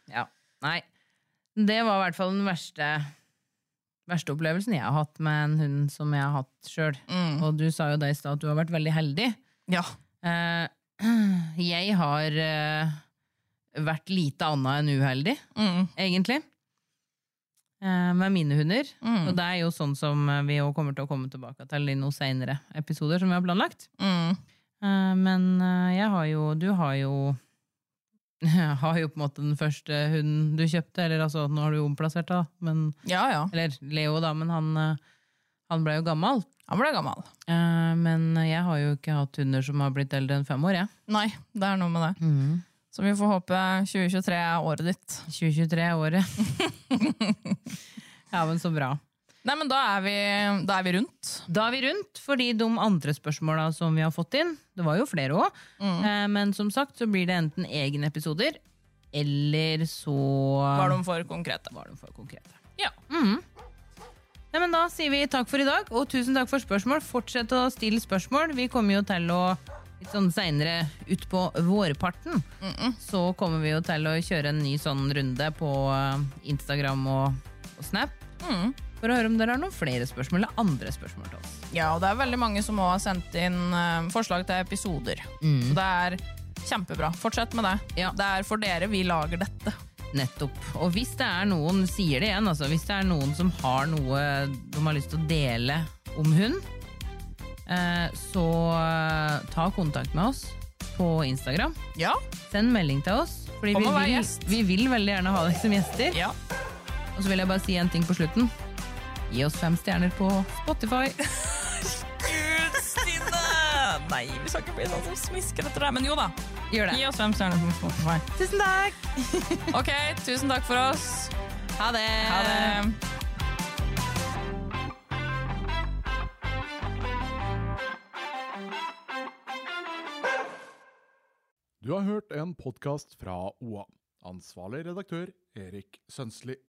Speaker 2: Ja. Nei. Det var i hvert fall den verste, verste opplevelsen jeg har hatt med en hund som jeg har hatt sjøl.
Speaker 1: Mm.
Speaker 2: Og du sa jo det i stad at du har vært veldig heldig.
Speaker 1: ja.
Speaker 2: Eh, jeg har eh, vært lite annet enn uheldig,
Speaker 1: Mm.
Speaker 2: egentlig. Eh, med mine hunder.
Speaker 1: Mm.
Speaker 2: Og det er jo sånn som eh, vi jo kommer til å komme tilbake til i noen senere episoder som vi har planlagt.
Speaker 1: Mm.
Speaker 2: Eh, men eh, jeg har jo Du har jo har jo på en måte den første hunden du kjøpte, eller altså, nå har du jo omplassert deg, da, men
Speaker 1: ja ja.
Speaker 2: Eller Leo, da, men han, eh, han ble jo gammel.
Speaker 1: Han ble gammel.
Speaker 2: Eh, Men jeg har jo ikke hatt hunder som har blitt eldre enn fem år, jeg.
Speaker 1: Nei, det er noe med det.
Speaker 2: Mm.
Speaker 1: Så vi får håpe 2023 er året ditt.
Speaker 2: 2023 er året. ja, men så bra.
Speaker 1: Nei, men da er vi, da er vi rundt.
Speaker 2: Da er vi rundt, fordi de andre spørsmåla som vi har fått inn, det var jo flere òg, men som sagt så blir det enten egne episoder, eller så
Speaker 1: Var de for konkrete?
Speaker 2: var de for konkrete.
Speaker 1: Ja.
Speaker 2: Nei, men Da sier vi takk for i dag, og tusen takk for spørsmål. Fortsett å stille spørsmål. Vi kommer jo til å litt sånn seinere utpå vårparten, så kommer vi jo til å kjøre en ny sånn runde på eh, Instagram og, og Snap.
Speaker 1: Mm.
Speaker 2: For å høre om dere har noen flere spørsmål eller andre spørsmål til oss.
Speaker 1: Ja, og det er veldig mange som også har sendt inn eh, forslag til episoder. Så det er kjempebra. Fortsett med det.
Speaker 2: Mm. Ja.
Speaker 1: Det er for dere vi lager dette.
Speaker 2: Nettopp. Og hvis det er noen, sier det igjen, altså, hvis det er noen som har noe de har lyst til å dele om hund, eh, så eh, ta kontakt med oss på Instagram.
Speaker 1: Ja.
Speaker 2: Send melding til oss, fordi
Speaker 1: Kom
Speaker 2: vi
Speaker 1: og vær
Speaker 2: vil,
Speaker 1: gjest.
Speaker 2: vi vil veldig gjerne ha deg som gjester.
Speaker 1: ja.
Speaker 2: Og så vil jeg bare si en ting på slutten. Gi oss fem stjerner på Spotify.
Speaker 1: Gud, Stine! Nei, vi skal ikke bli sånn som smisker etter det. Men jo da,
Speaker 2: Gjør
Speaker 1: gi
Speaker 2: det.
Speaker 1: oss fem stjerner på Spotify.
Speaker 2: Tusen takk!
Speaker 1: Ok, tusen takk for oss. Eh,
Speaker 2: Ha det!
Speaker 1: Ha det.
Speaker 4: Du har hørt en podkast fra OA. Ansvarlig redaktør Erik Sønsli.